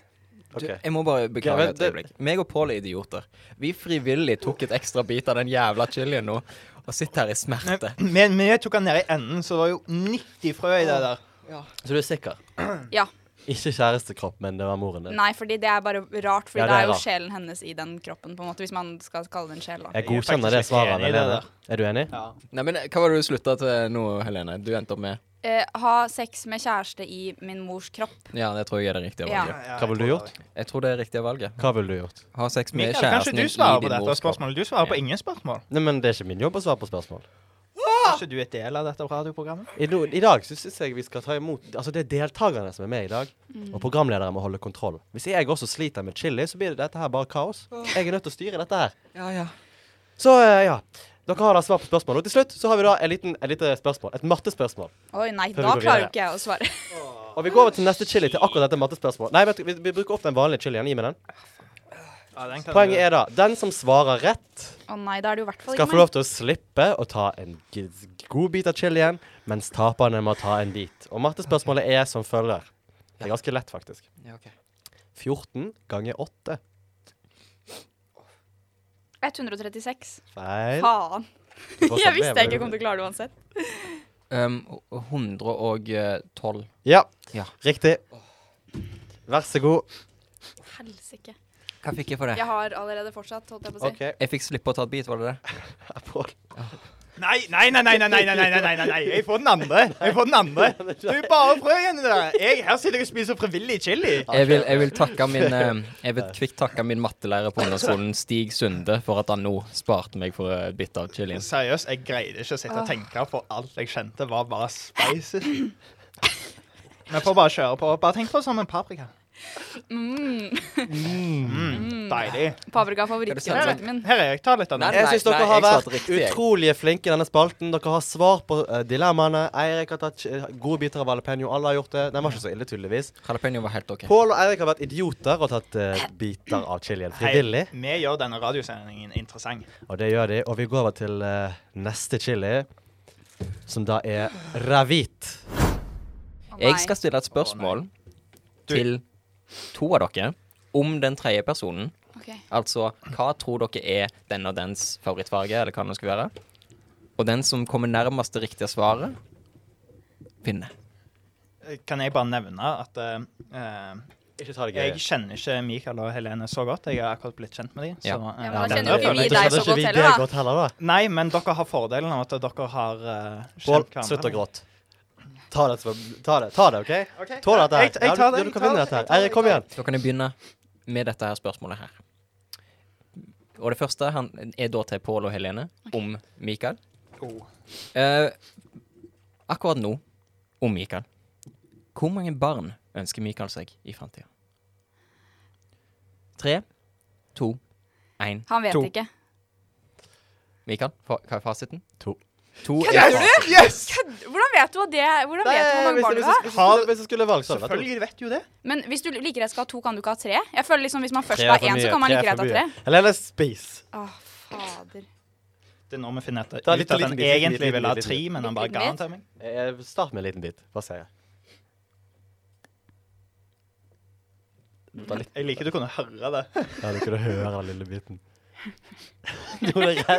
Speaker 2: Du,
Speaker 1: Ok.
Speaker 2: jeg må bare
Speaker 1: Ja,
Speaker 2: beklage
Speaker 1: men
Speaker 2: et
Speaker 1: det-
Speaker 2: øyeblikk. Meg og Pål er idioter. Vi frivillig tok et ekstra bit av den jævla chilien nå, og sitter her i smerte.
Speaker 4: Men vi tok han ned i enden, så det var jo 90 frø i det der.
Speaker 1: Så du er sikker?
Speaker 3: Ja.
Speaker 1: Ikke kjærestekropp, men det var moren din.
Speaker 3: Nei, fordi det er bare rart, fordi
Speaker 1: Ja, det er
Speaker 3: det, er jo
Speaker 1: rart.
Speaker 3: sjelen hennes i den kroppen, på en måte, hvis man skal kalle det en sjel, da.
Speaker 1: Jeg
Speaker 4: Jeg er
Speaker 1: godkjenner
Speaker 4: faktisk
Speaker 1: det
Speaker 4: ikke
Speaker 1: svaret.
Speaker 4: enig i det
Speaker 1: Helene. Er du enig?
Speaker 2: Nei, men eh, Hva var det du slutta til nå, Helene? Du endte opp med
Speaker 3: Eh, ha sex med kjæreste i min mors kropp.
Speaker 2: Ja, det tror jeg er det riktige
Speaker 3: Ja.
Speaker 2: valget.
Speaker 1: Hva ville du gjort?
Speaker 2: Jeg tror det er riktige valget.
Speaker 1: Hva ville du gjort?
Speaker 2: Ha sex med
Speaker 4: Mikael, kanskje
Speaker 2: kjæresten
Speaker 4: du
Speaker 2: din i
Speaker 4: svarer på
Speaker 2: din
Speaker 4: dette
Speaker 2: mors kropp.
Speaker 4: spørsmålet? Du svarer på
Speaker 2: Ja.
Speaker 4: ingen spørsmål.
Speaker 1: Nei, men Det er ikke min jobb å svare på spørsmål.
Speaker 4: Kanskje du er del av dette radioprogrammet?
Speaker 1: I, no, I dag så syns jeg vi skal ta imot Altså Det er deltakerne som er med i dag.
Speaker 2: Mm.
Speaker 1: Og programledere må holde kontroll. Hvis jeg også sliter med chili, så blir dette her bare kaos. Jeg er nødt til å styre dette her.
Speaker 2: Ja, ja.
Speaker 1: Så eh, ja. Dere har da svar på spørsmål. Og til slutt så har vi da et liten, et lite spørsmål. Et mattespørsmål.
Speaker 3: Oi, nei,
Speaker 1: Før vi
Speaker 3: da
Speaker 1: går
Speaker 3: klarer
Speaker 1: videre.
Speaker 3: jo ikke jeg å svare.
Speaker 1: Og vi går over til neste chili til akkurat dette mattespørsmålet. Nei, vet du, vi, vi bruker opp den vanlige chilien. Gi meg den. Poenget er da den som svarer rett,
Speaker 3: Å nei, da er det jo i hvert fall
Speaker 1: skal
Speaker 3: ikke
Speaker 1: få lov til å slippe å ta en g god bit av chilien, mens taperne må ta en bit. Og mattespørsmålet er som følger. Det er ganske lett, faktisk.
Speaker 2: ja ok.
Speaker 1: 14 ganger 8.
Speaker 3: meg. 136.
Speaker 1: Feil.
Speaker 3: Faen. [LAUGHS] Jeg visste jeg ikke kom til å klare det uansett.
Speaker 2: Um, 112.
Speaker 1: Ja.
Speaker 2: Ja.
Speaker 1: Riktig. Vær så god.
Speaker 3: Helsike.
Speaker 2: Hva fikk jeg for det?
Speaker 3: Jeg har allerede fortsatt, holdt jeg på å si.
Speaker 1: OK.
Speaker 2: Jeg fikk slippe å ta et bit, var det det?
Speaker 1: Pål.
Speaker 4: Nei, nei, nei, nei, nei, nei, nei, nei, nei, nei, nei, nei. jeg får den andre. Jeg får den andre. Du er bare frø igjen i det. Jeg, her sitter jeg og spiser frivillig chili.
Speaker 2: Jeg vil, jeg vil, takke min, eh, jeg vil kvikt takke min mattelærer på ungdomsskolen, Stig Sunde, for at han nå sparte meg for et bit av chilien.
Speaker 4: Seriøst, jeg greide ikke å sitte og tenke, for alt jeg kjente, var bare spices. Vi får bare kjøre på. Bare tenk på det som en paprika. Mm, deilig.
Speaker 2: Er det
Speaker 3: Paprika er
Speaker 2: sant?
Speaker 3: favorittgrønnsaken min.
Speaker 4: Her er jeg. Ta litt av den.
Speaker 1: Jeg syns dere
Speaker 2: nei,
Speaker 1: har
Speaker 2: jeg svarte
Speaker 1: vært
Speaker 2: riktig, jeg.
Speaker 1: utrolig flinke i denne spalten. Dere har svar på eh, dilemmaene. Eirik har tatt eh, gode biter av jalapeño. Alle har gjort det. Den var ikke så ille, tydeligvis.
Speaker 2: Jalapeño var helt OK.
Speaker 1: Pål og Eirik har vært idioter og tatt eh, biter av chilien
Speaker 4: Hei,
Speaker 1: frivillig.
Speaker 4: Vi gjør denne radiosendingen interessant.
Speaker 1: Og det gjør de. Og vi går over til eh, neste chili, som da er ravit.
Speaker 3: Å, nei.
Speaker 2: Jeg skal stille et spørsmål
Speaker 4: Du-
Speaker 2: til to av dere om den tredje personen.
Speaker 3: Ok.
Speaker 2: Altså, hva tror dere er den og dens favorittfarge, eller hva det nå skal være? Og den som kommer nærmest det riktige svaret, vinner.
Speaker 4: Kan jeg bare nevne at eh, eh,
Speaker 1: Ikke ta det
Speaker 4: jeg
Speaker 1: gøy.
Speaker 4: kjenner ikke Mikael og Helene så godt. Jeg har akkurat blitt kjent med dem. eh,
Speaker 2: Ja.
Speaker 3: Ja, men da
Speaker 4: men
Speaker 3: kjenner
Speaker 4: det
Speaker 3: jo ikke
Speaker 4: føler
Speaker 1: Så
Speaker 3: vi
Speaker 4: jeg ikke.
Speaker 3: deg
Speaker 1: hadde
Speaker 3: så
Speaker 1: ikke
Speaker 3: godt
Speaker 1: vi
Speaker 3: heller,
Speaker 1: det
Speaker 3: da.
Speaker 1: godt heller, da.
Speaker 4: Nei, men dere har fordelen av at dere har eh,
Speaker 1: Pål,
Speaker 4: kjent hverandre.
Speaker 1: slutt å gråte. Ta det, som- ta det, ta det, OK?
Speaker 4: Ok.
Speaker 1: Tål dette. her.
Speaker 4: Jeg- jeg tar det,
Speaker 1: Ja, du, du
Speaker 4: jeg
Speaker 1: kan
Speaker 4: tar
Speaker 1: vinne
Speaker 4: det,
Speaker 1: dette. her.
Speaker 4: jeg tar det,
Speaker 1: Eirik, kom
Speaker 4: jeg tar
Speaker 1: igjen.
Speaker 2: Da kan jeg begynne med dette her spørsmålet her. Og det første han, er da til Pål og Helene om Mikael.
Speaker 4: Oh.
Speaker 2: Eh, akkurat nå om Mikael. Hvor mange barn ønsker Mikael seg i framtida? Tre, to, én.
Speaker 3: Han vet
Speaker 4: To.
Speaker 3: ikke.
Speaker 2: Mikael, fa hva er fasiten?
Speaker 1: To.
Speaker 2: To er
Speaker 3: Kødder
Speaker 2: fasit.
Speaker 3: du? Hvordan vet du hva det Hvordan vet du hvor
Speaker 1: Nei,
Speaker 3: mange
Speaker 1: hvis,
Speaker 3: barn du
Speaker 1: hvis,
Speaker 3: har?
Speaker 1: hvis, hvis, hvis jeg skulle valgt, så hadde det vært to.
Speaker 4: Selvfølgelig vet du jo det.
Speaker 3: Men hvis du like greit skal ha to, kan du ikke ha tre? Jeg føler liksom Hvis man først
Speaker 1: Tre
Speaker 3: skal
Speaker 1: er
Speaker 3: ha
Speaker 1: for
Speaker 3: én,
Speaker 1: mye,
Speaker 3: så kan man
Speaker 1: tre
Speaker 3: like
Speaker 1: er
Speaker 3: greit
Speaker 1: for
Speaker 3: ha
Speaker 1: mye.
Speaker 3: tre.
Speaker 1: Eller spis.
Speaker 3: Å, [LAUGHS] fader.
Speaker 4: Det er når vi finner ut ut
Speaker 1: Ta
Speaker 4: at
Speaker 1: litt
Speaker 4: han
Speaker 1: liten bit, liten
Speaker 4: egentlig
Speaker 1: bit,
Speaker 4: ville ha
Speaker 1: liten
Speaker 4: tre,
Speaker 1: bit.
Speaker 4: men han bare
Speaker 3: Liten
Speaker 4: ga den
Speaker 3: bit.
Speaker 4: til meg.
Speaker 1: Eh, Start med en liten bit. Hva sier jeg? Ta litt
Speaker 4: Jeg liker at du [LAUGHS] kunne høre det. [LAUGHS]
Speaker 1: Ja, du kunne høre den lille [LAUGHS] biten. Du ble [LAUGHS] redd.
Speaker 4: Det var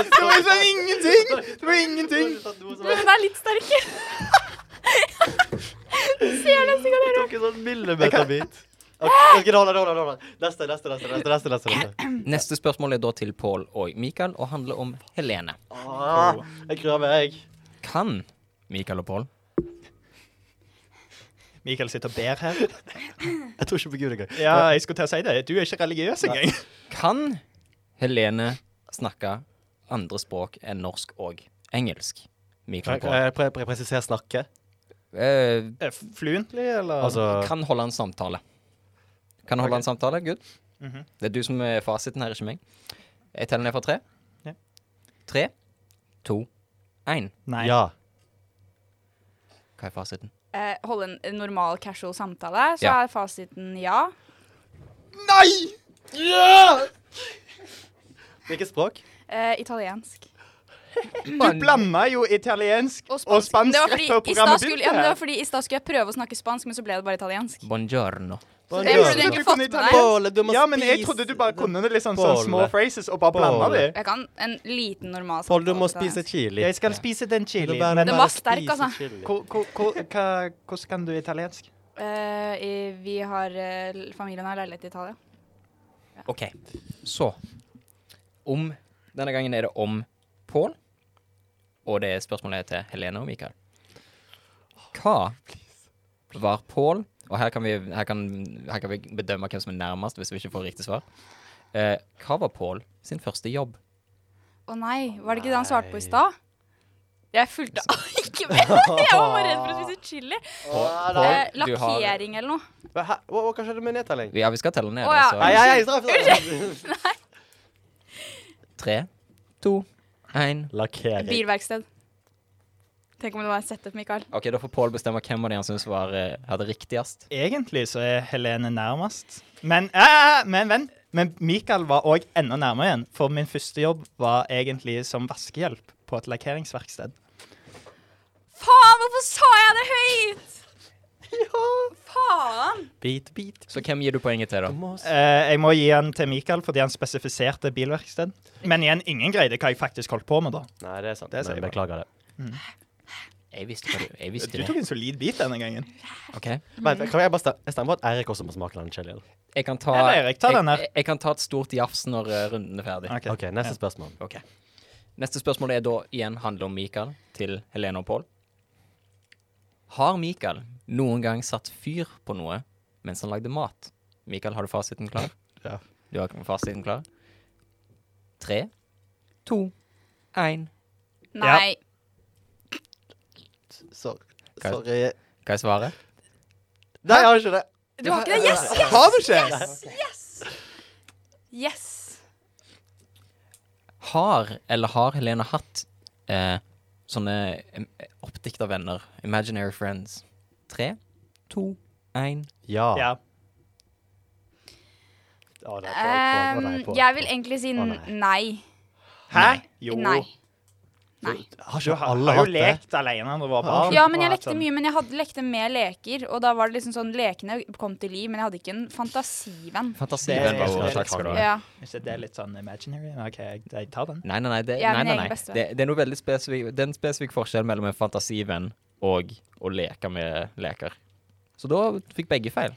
Speaker 1: liksom
Speaker 4: sånn ingenting! Det var ingenting!
Speaker 1: sånn-
Speaker 3: Men den er litt sterk. Ser nesten ikke hva det er.
Speaker 1: tok en sånn millimeterbit. Ok, ok, det holder, det holder, det holder. Neste, neste, neste. neste, neste, neste, neste.
Speaker 2: Neste spørsmål er da til Pål og Mikael, og handler om Helene.
Speaker 1: Ah, jeg gruer meg, jeg.
Speaker 2: Kan Mikael og Pål
Speaker 4: Mikael sitter og ber her.
Speaker 1: Jeg tror ikke på Gud engang.
Speaker 4: Ja, jeg skulle til å si det. Du er ikke religiøs engang. [LAUGHS]
Speaker 2: Kan Helene snakke andre språk enn norsk og engelsk?
Speaker 1: Kan
Speaker 2: mikroen på.
Speaker 1: jeg pre- pre- presisere snakke?
Speaker 2: Eh,
Speaker 4: Eh, Fluently, eller?
Speaker 1: Altså
Speaker 2: kan holde en samtale. Kan holde
Speaker 4: Ok.
Speaker 2: en samtale, good.
Speaker 4: Mhm.
Speaker 2: Det er du som er fasiten her, ikke meg. Jeg teller ned fra tre.
Speaker 4: Ja.
Speaker 2: Tre, to, én.
Speaker 4: Nei.
Speaker 1: ja.
Speaker 2: Hva er fasiten?
Speaker 3: Eh, holde en- en normal casual samtale, så
Speaker 2: Ja.
Speaker 3: er fasiten ja.
Speaker 4: Nei!
Speaker 1: Hvilket språk?
Speaker 3: Eh, italiensk.
Speaker 4: Du blanda jo italiensk og, spansk
Speaker 3: Det var
Speaker 4: rett
Speaker 3: fordi
Speaker 4: før
Speaker 3: i stad
Speaker 4: programmet
Speaker 3: skulle,
Speaker 4: begynte.
Speaker 3: ja, men det
Speaker 4: her.
Speaker 3: var fordi i stad skulle jeg prøve å snakke spansk, men så ble det bare italiensk.
Speaker 2: Buongiorno.
Speaker 3: Så
Speaker 1: Buongiorno.
Speaker 3: jeg burde
Speaker 1: Du
Speaker 3: egentlig
Speaker 4: kunne
Speaker 3: fått med
Speaker 4: italiensk.
Speaker 3: deg
Speaker 1: Båle, du må
Speaker 4: Ja, men jeg
Speaker 1: spise-
Speaker 4: trodde du bare kunne det litt sånn,
Speaker 1: Båle.
Speaker 4: sånn små phrases og bare blanda de.
Speaker 1: Båle.
Speaker 3: Jeg kan en liten normal
Speaker 1: Pål, du
Speaker 3: samtale
Speaker 1: må
Speaker 3: på italiensk.
Speaker 1: spise chili.
Speaker 4: Jeg skal spise den
Speaker 1: Du
Speaker 4: chilien.
Speaker 1: bare-
Speaker 4: men-
Speaker 3: Den
Speaker 1: bare
Speaker 3: var sterk,
Speaker 1: spise
Speaker 3: altså.
Speaker 1: chili.
Speaker 4: Hvor- hvor- hvor- hva- Hvordan kan du italiensk?
Speaker 3: Eh, i- vi har eh, l- Familien har leilighet i Italia.
Speaker 2: OK, så Om Denne gangen er det om Pål, og det er spørsmålet til Helene og Mikael. Hva var Pål Og her kan, vi, her, kan, her kan vi bedømme hvem som er nærmest, hvis vi ikke får riktig svar. Eh, hva var Pål sin første jobb?
Speaker 3: Å nei, var det ikke det han svarte på
Speaker 1: Nei.
Speaker 3: i stad?
Speaker 2: [LAUGHS]
Speaker 3: Jeg fulgte [LAUGHS] ikke med! Jeg var bare redd for å spise chili. Eh,
Speaker 2: Pål, du har-
Speaker 3: Lakkering eller noe.
Speaker 1: Hva, hæ? hva, hva skjedde med nedtelling?
Speaker 2: Ja, vi skal telle ned.
Speaker 3: Å, ja.
Speaker 1: Nei,
Speaker 2: altså.
Speaker 1: nei, nei, straff!
Speaker 3: [LAUGHS]
Speaker 1: straff.
Speaker 2: Tre, to, én
Speaker 1: Lakkering.
Speaker 3: Bilverksted. Tenk om det var en setup, Mikael.
Speaker 2: OK, da får Pål bestemme hvem av de han syns var, eh, hadde riktigst.
Speaker 4: Egentlig så er Helene nærmest. Men, eh, men, vent. men Mikael var òg enda nærmere igjen, for min første jobb var egentlig som vaskehjelp på et lakkeringsverksted.
Speaker 3: Faen, hvorfor sa jeg det høyt?!
Speaker 2: [LAUGHS]
Speaker 3: Faen!
Speaker 1: Bit, bit.
Speaker 2: Så hvem gir du poenget til,
Speaker 1: Du
Speaker 2: da?
Speaker 1: må s-
Speaker 4: Eh, jeg må gi den til Mikael fordi han spesifiserte bilverksted. Men igjen, ingen greide hva jeg faktisk holdt på med da.
Speaker 1: Nei, det er sant.
Speaker 4: Det sier
Speaker 1: men
Speaker 4: jeg
Speaker 1: beklager det.
Speaker 2: Jeg visste hva du Jeg visste
Speaker 4: Du tok
Speaker 2: det.
Speaker 4: en solid bit denne gangen.
Speaker 2: OK.
Speaker 1: Men kan jeg bare stemme, jeg stemmer på at Eirik også må smake den chilien.
Speaker 2: Jeg kan ta,
Speaker 4: Eller Erik, ta
Speaker 2: jeg,
Speaker 4: den her.
Speaker 2: jeg, jeg kan ta et stort jafs når eh, runden er ferdig.
Speaker 4: Ok.
Speaker 1: OK, neste spørsmål.
Speaker 2: Ok. Neste spørsmål er da igjen handler om Mikael til Helene og Pål. Har Mikael noen gang satt fyr på noe mens han lagde mat? Mikael, har du fasiten
Speaker 4: [LAUGHS]
Speaker 2: klar?
Speaker 1: Ja.
Speaker 2: Du har fasiten klar? Tre, to, én.
Speaker 3: Nei.
Speaker 1: Sorry.
Speaker 2: Hva-
Speaker 1: Sorry.
Speaker 2: Hva er svaret?
Speaker 1: Nei, jeg har ikke det.
Speaker 3: Du har ikke det? Yes! Yes!
Speaker 4: Har du ikke?
Speaker 3: yes.
Speaker 2: Har, eller har Helene hatt eh, sånne eh, oppdikta venner? Imaginary friends. Tre, to, én.
Speaker 1: Ja.
Speaker 4: Ja.
Speaker 1: Å, det er på, på, på,
Speaker 3: Um,
Speaker 1: nei, på.
Speaker 3: jeg vil egentlig si
Speaker 1: Å,
Speaker 3: n-
Speaker 1: nei.
Speaker 3: nei.
Speaker 4: Hæ? Jo.
Speaker 3: Nei. Nei.
Speaker 1: Har
Speaker 4: Du
Speaker 1: ikke
Speaker 4: har,
Speaker 1: alle
Speaker 4: har jo
Speaker 1: hatt det?
Speaker 4: lekt alene når du var barn.
Speaker 3: Ja, men jeg
Speaker 4: og hatt
Speaker 3: lekte
Speaker 4: sånn-
Speaker 3: mye, men jeg hadde lekte med leker. Og da var det liksom sånn lekene kom til liv, men jeg hadde ikke en fantasivenn.
Speaker 4: Det er-
Speaker 2: Fantasien var jo
Speaker 1: det er-
Speaker 2: slags skal du ha.
Speaker 3: Ja.
Speaker 4: Hvis det er litt sånn imaginary, OK, jeg, jeg tar den.
Speaker 2: Nei, nei, nei. Det,
Speaker 3: Jeg er
Speaker 2: nei,
Speaker 3: min
Speaker 2: nei,
Speaker 3: egen
Speaker 2: nei.
Speaker 3: bestevenn.
Speaker 2: Det, det er noe veldig spesifikk Det er en spesifikk forskjell mellom en fantasivenn og å leke med leker. Så da fikk begge feil.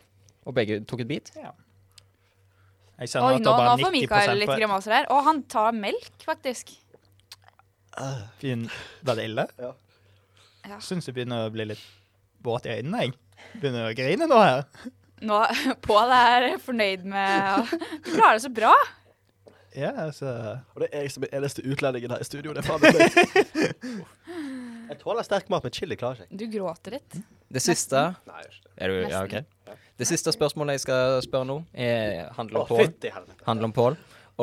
Speaker 2: Og begge tok et bit.
Speaker 4: Jeg
Speaker 3: Oi,
Speaker 4: skjønner at det
Speaker 3: nå,
Speaker 4: var
Speaker 3: nå
Speaker 4: bare
Speaker 3: får
Speaker 4: 90
Speaker 3: Mikael litt
Speaker 4: på-
Speaker 3: grimaser her. Og han tar melk, faktisk.
Speaker 4: Begynn- Var det ille?
Speaker 1: Ja.
Speaker 3: Ja.
Speaker 4: Syns jeg begynner å bli litt våt i øynene, jeg. Begynner å grine nå her.
Speaker 3: Nå, [LAUGHS] Pål er fornøyd med Du klarer det så bra.
Speaker 4: Ja, altså
Speaker 1: Og det er jeg som er eneste utlendingen her i studio. Det er faen meg flaut. [LAUGHS] Jeg tåler sterk mat, men chili klarer jeg ikke.
Speaker 3: Du gråter litt.
Speaker 2: Det siste
Speaker 1: Nei, jeg gjør ikke det.
Speaker 2: er du, ja, ok.
Speaker 3: Nesten.
Speaker 2: Det siste spørsmålet jeg skal spørre nå, er, handler om
Speaker 1: Å,
Speaker 2: Pål.
Speaker 1: fytti helvete.
Speaker 2: Handler om Pål.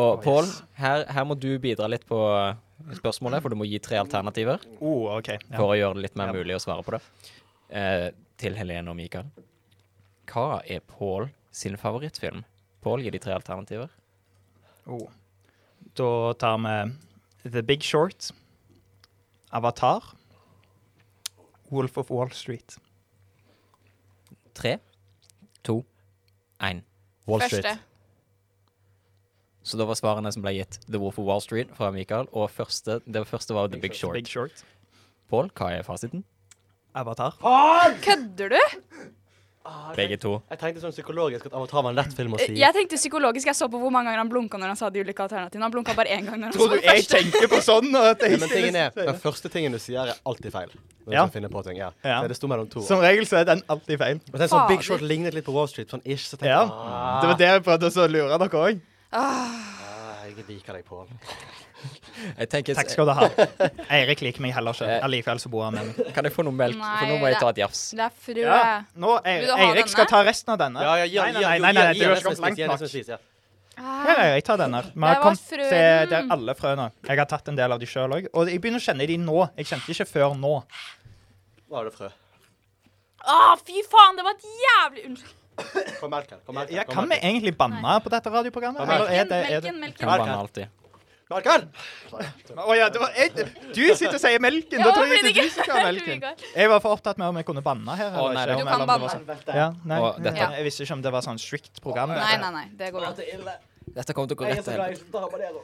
Speaker 2: Og Pål, her, her må du bidra litt på spørsmålet, for du må gi tre alternativer
Speaker 4: oh, OK. Ja.
Speaker 2: for å gjøre det litt mer
Speaker 4: Ja.
Speaker 2: mulig å svare på det. Eh, til Helene og Mikael. Hva er Pål sin favorittfilm? Pål gir de tre alternativer.
Speaker 4: Oh. Da tar vi The Big Short, Avatar, Wolf of Wall Street.
Speaker 2: Tre, to, én.
Speaker 1: Wall
Speaker 3: Første.
Speaker 1: Street.
Speaker 2: Så da var svarene som ble gitt The Wolf of Wall Street fra Mikael, og første, det første var The Big
Speaker 4: Big
Speaker 2: Short.
Speaker 4: Short.
Speaker 2: Pål, hva er fasiten?
Speaker 4: Avatar.
Speaker 3: Kødder du? Ah,
Speaker 2: Begge to.
Speaker 1: Jeg tenkte sånn psykologisk at Avatar var en lett film å si.
Speaker 3: Eh, Jeg tenkte psykologisk. Jeg så på hvor mange ganger han blunka når han sa de ulike alternativene. Han blunka bare én gang. når han
Speaker 4: Tror
Speaker 3: sa
Speaker 4: du jeg tenker på sånn? og At
Speaker 1: Ja,
Speaker 4: jeg
Speaker 1: men tingen er, Den første tingen du sier, er alltid feil. Når
Speaker 4: Ja.
Speaker 1: du finner på ting, ja.
Speaker 4: Ja.
Speaker 1: Så Det sto mellom to.
Speaker 4: Som regel så er den alltid feil.
Speaker 1: Og den som sånn Big
Speaker 3: Fader.
Speaker 1: Short lignet litt på Wall Street, sånn ish, så tenkte
Speaker 4: Ja.
Speaker 1: jeg ah,
Speaker 4: Det var det jeg prøvde å så lure dere òg.
Speaker 1: ah, Jeg liker deg, Pål.
Speaker 2: Jeg tenker,
Speaker 4: Takk skal du ha. Eirik liker meg heller ikke. Allikevel så bor han med meg.
Speaker 2: Kan jeg få noe melk? For nå må jeg ta et jafs.
Speaker 3: Det er eh. frue.
Speaker 4: Nå, Ei-
Speaker 3: Vil du ha denne?
Speaker 4: Eirik skal ta resten av denne.
Speaker 1: Ja, ja, ja,
Speaker 4: nei,
Speaker 1: ja,
Speaker 4: nei,
Speaker 1: jo,
Speaker 4: nei, nei,
Speaker 1: ja,
Speaker 4: nei,
Speaker 1: ja,
Speaker 4: du har
Speaker 1: nesten
Speaker 4: ikke kommet
Speaker 1: spist, ja,
Speaker 4: langt
Speaker 1: nesten
Speaker 4: nok.
Speaker 1: spist, ja.
Speaker 4: Her, Eirik, ta denne. Vi
Speaker 3: Det
Speaker 4: har
Speaker 3: var
Speaker 4: kommet til
Speaker 3: frøen.
Speaker 4: der alle frøene. Jeg har tatt en del av de sjøl òg. Og jeg begynner å kjenne de nå. Jeg kjente de ikke før nå.
Speaker 1: Hva er det frø?
Speaker 3: Å, fy faen, det var et jævlig Unnskyld.
Speaker 1: Kom melk her. Kom melk her.
Speaker 4: Ja, kan vi egentlig banne på dette radioprogrammet?
Speaker 1: Nei.
Speaker 4: Eller er det, er det?
Speaker 3: Melken, melken,
Speaker 2: Kan
Speaker 1: Hva er
Speaker 2: banne
Speaker 1: det?
Speaker 2: alltid.
Speaker 1: Melk her!
Speaker 4: Å ja, det var, jeg, du sitter og sier melken!
Speaker 3: Ja,
Speaker 4: da tror
Speaker 3: men
Speaker 4: jeg det er
Speaker 3: ikke-
Speaker 4: du
Speaker 3: [LAUGHS]
Speaker 4: som skal ha
Speaker 3: det blir
Speaker 4: melken.
Speaker 3: godt.
Speaker 4: Jeg var for opptatt med om jeg kunne banne her.
Speaker 2: Å,
Speaker 4: eller
Speaker 2: nei,
Speaker 4: ikke,
Speaker 2: det
Speaker 4: om-
Speaker 3: Du kan
Speaker 4: eller om det var
Speaker 3: banne.
Speaker 4: sånn- Ja, nei,
Speaker 2: Å, dette-
Speaker 4: ja. Jeg visste ikke om det var sånn strict program.
Speaker 3: Nei, nei, nei. Det går bra.
Speaker 2: Dette kommer til å gå rett til helvete.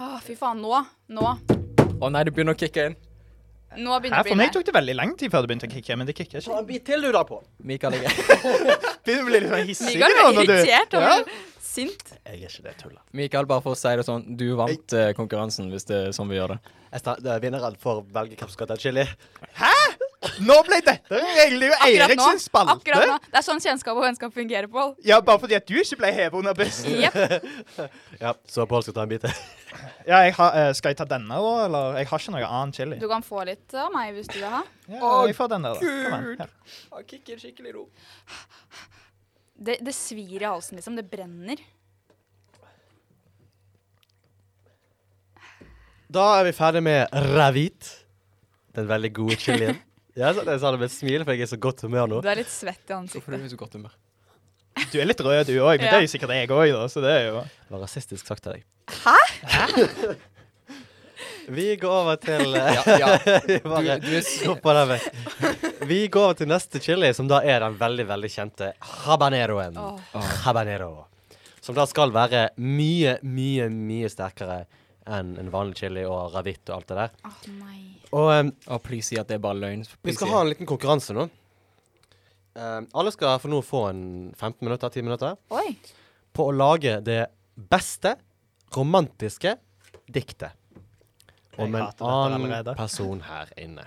Speaker 3: Å, fy faen. Nå. Nå.
Speaker 2: Å nei, det begynner å kicke inn.
Speaker 3: Nå begynner
Speaker 4: Her, for meg
Speaker 3: bildet.
Speaker 4: tok det veldig lang tid før det begynte å kicke, men det kicker ikke.
Speaker 1: bit til du da på.
Speaker 2: Mikael jeg, [LAUGHS]
Speaker 4: Begynner å bli litt sånn hissig
Speaker 3: Mikael
Speaker 4: nå,
Speaker 3: ble
Speaker 4: når du
Speaker 3: irritert og
Speaker 4: Ja.
Speaker 3: ble sint.
Speaker 1: Jeg er ikke det tullet.
Speaker 2: Mikael, bare for å si det sånn, du vant eh, konkurransen, hvis det er sånn vi gjør det.
Speaker 1: Jeg sta- det er vinneren for velge kapskatt av chili.
Speaker 4: Nå ble dette egentlig jo
Speaker 3: Akkurat
Speaker 4: Eirik
Speaker 3: nå.
Speaker 4: sin spalte.
Speaker 3: Akkurat nå. Det er sånn kjennskap og vennskap fungerer, Pål.
Speaker 4: Ja, bare fordi at du ikke ble hevet under bussen.
Speaker 3: Jepp.
Speaker 1: Ja, så Pål skal ta en bit til.
Speaker 4: Ja, jeg har, eh, skal jeg ta denne òg, eller? Jeg har ikke noe annen chili.
Speaker 3: Du kan få litt av meg hvis du vil ha.
Speaker 4: Ja,
Speaker 2: Å,
Speaker 4: jeg får den der, da. Kom an, her.
Speaker 2: Han kicker skikkelig ro.
Speaker 3: Det, det svir i halsen, liksom. Det brenner.
Speaker 1: Da er vi ferdig med ravit. Den veldig gode chilien. [LAUGHS] Jeg sa, jeg sa det med et smil, for jeg er i så godt humør nå.
Speaker 3: Du er litt svett i
Speaker 2: Hvorfor er du
Speaker 3: ansiktet.
Speaker 2: i så godt humør?
Speaker 4: Du er litt rød, du òg, men
Speaker 3: Ja.
Speaker 4: det er jo sikkert jeg òg, da. Så det er jo
Speaker 1: Det var rasistisk sagt av deg. Hæ? [LAUGHS] vi går over til eh,
Speaker 2: [LAUGHS] Ja, ja.
Speaker 1: vi [LAUGHS]
Speaker 2: Du,
Speaker 1: bare
Speaker 2: du er så...
Speaker 1: hopper den vekk. Vi går over til neste chili, som da er den veldig, veldig kjente habaneroen.
Speaker 3: Åh.
Speaker 1: Habanero. Som da skal være mye, mye, mye sterkere enn en vanlig chili og ravit og alt det der.
Speaker 3: Åh, nei.
Speaker 1: Og em,
Speaker 2: Å, please si at det er bare løgn.
Speaker 1: Vi
Speaker 2: Please
Speaker 1: skal
Speaker 2: si-
Speaker 1: ha en liten konkurranse nå. Eh, alle skal for nå få en 15 minutter, 10 minutter
Speaker 3: Oi.
Speaker 1: på å lage det beste romantiske diktet. Om en
Speaker 4: hater dette
Speaker 1: annen
Speaker 4: allerede.
Speaker 1: person her inne.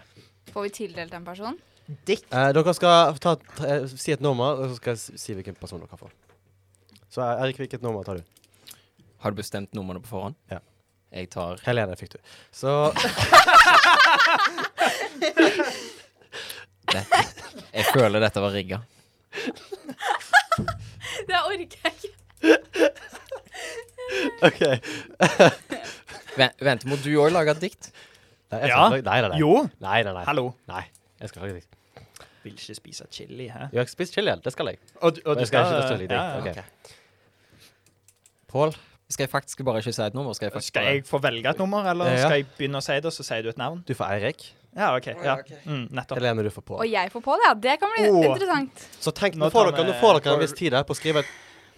Speaker 3: Får vi tildelt en person?
Speaker 4: dikt.
Speaker 1: Eh, dere skal ta, ta, eh, si et nummer, og så skal jeg s- si hvilken person dere får. Så eh, Erik, hvilket nummer tar du?
Speaker 2: Har du bestemt numrene på forhånd?
Speaker 1: Ja.
Speaker 2: Jeg tar
Speaker 1: Helene fikk du. Så
Speaker 2: det. Jeg føler dette var rigga.
Speaker 3: [LAUGHS] Det orker jeg ikke.
Speaker 1: OK. Nei,
Speaker 2: Vent, vent, må du òg lage et dikt?
Speaker 1: jeg skal
Speaker 4: Ja.
Speaker 1: ikke lage- Nei, nei, nei.
Speaker 4: Jo.
Speaker 1: Nei, nei, nei.
Speaker 4: Hallo.
Speaker 1: nei. Jeg skal lage dikt.
Speaker 4: Vil ikke spise chili, hæ?
Speaker 1: Jeg har ikke spist chili, det skal jeg.
Speaker 4: Og, du- og
Speaker 1: Jeg skal ikke ta stille i dikt.
Speaker 4: ja, ja.
Speaker 1: ok. Pål?
Speaker 2: Skal jeg faktisk bare ikke si et nummer? Skal jeg faktisk
Speaker 4: Skal jeg få velge et nummer, eller
Speaker 1: Ja.
Speaker 4: skal jeg begynne å si det, og så sier du et navn?
Speaker 1: Du får Eirik.
Speaker 4: Ja, OK. Ja. Mm, nettopp.
Speaker 1: Helene, du får
Speaker 3: Og
Speaker 1: Pål.
Speaker 3: jeg får på det, ja. Det kan bli
Speaker 4: Åh.
Speaker 3: interessant.
Speaker 1: Så tenk, nå
Speaker 4: Nå
Speaker 1: får
Speaker 4: tar
Speaker 1: dere, nå
Speaker 4: vi-
Speaker 1: får dere en viss tid her på å skrive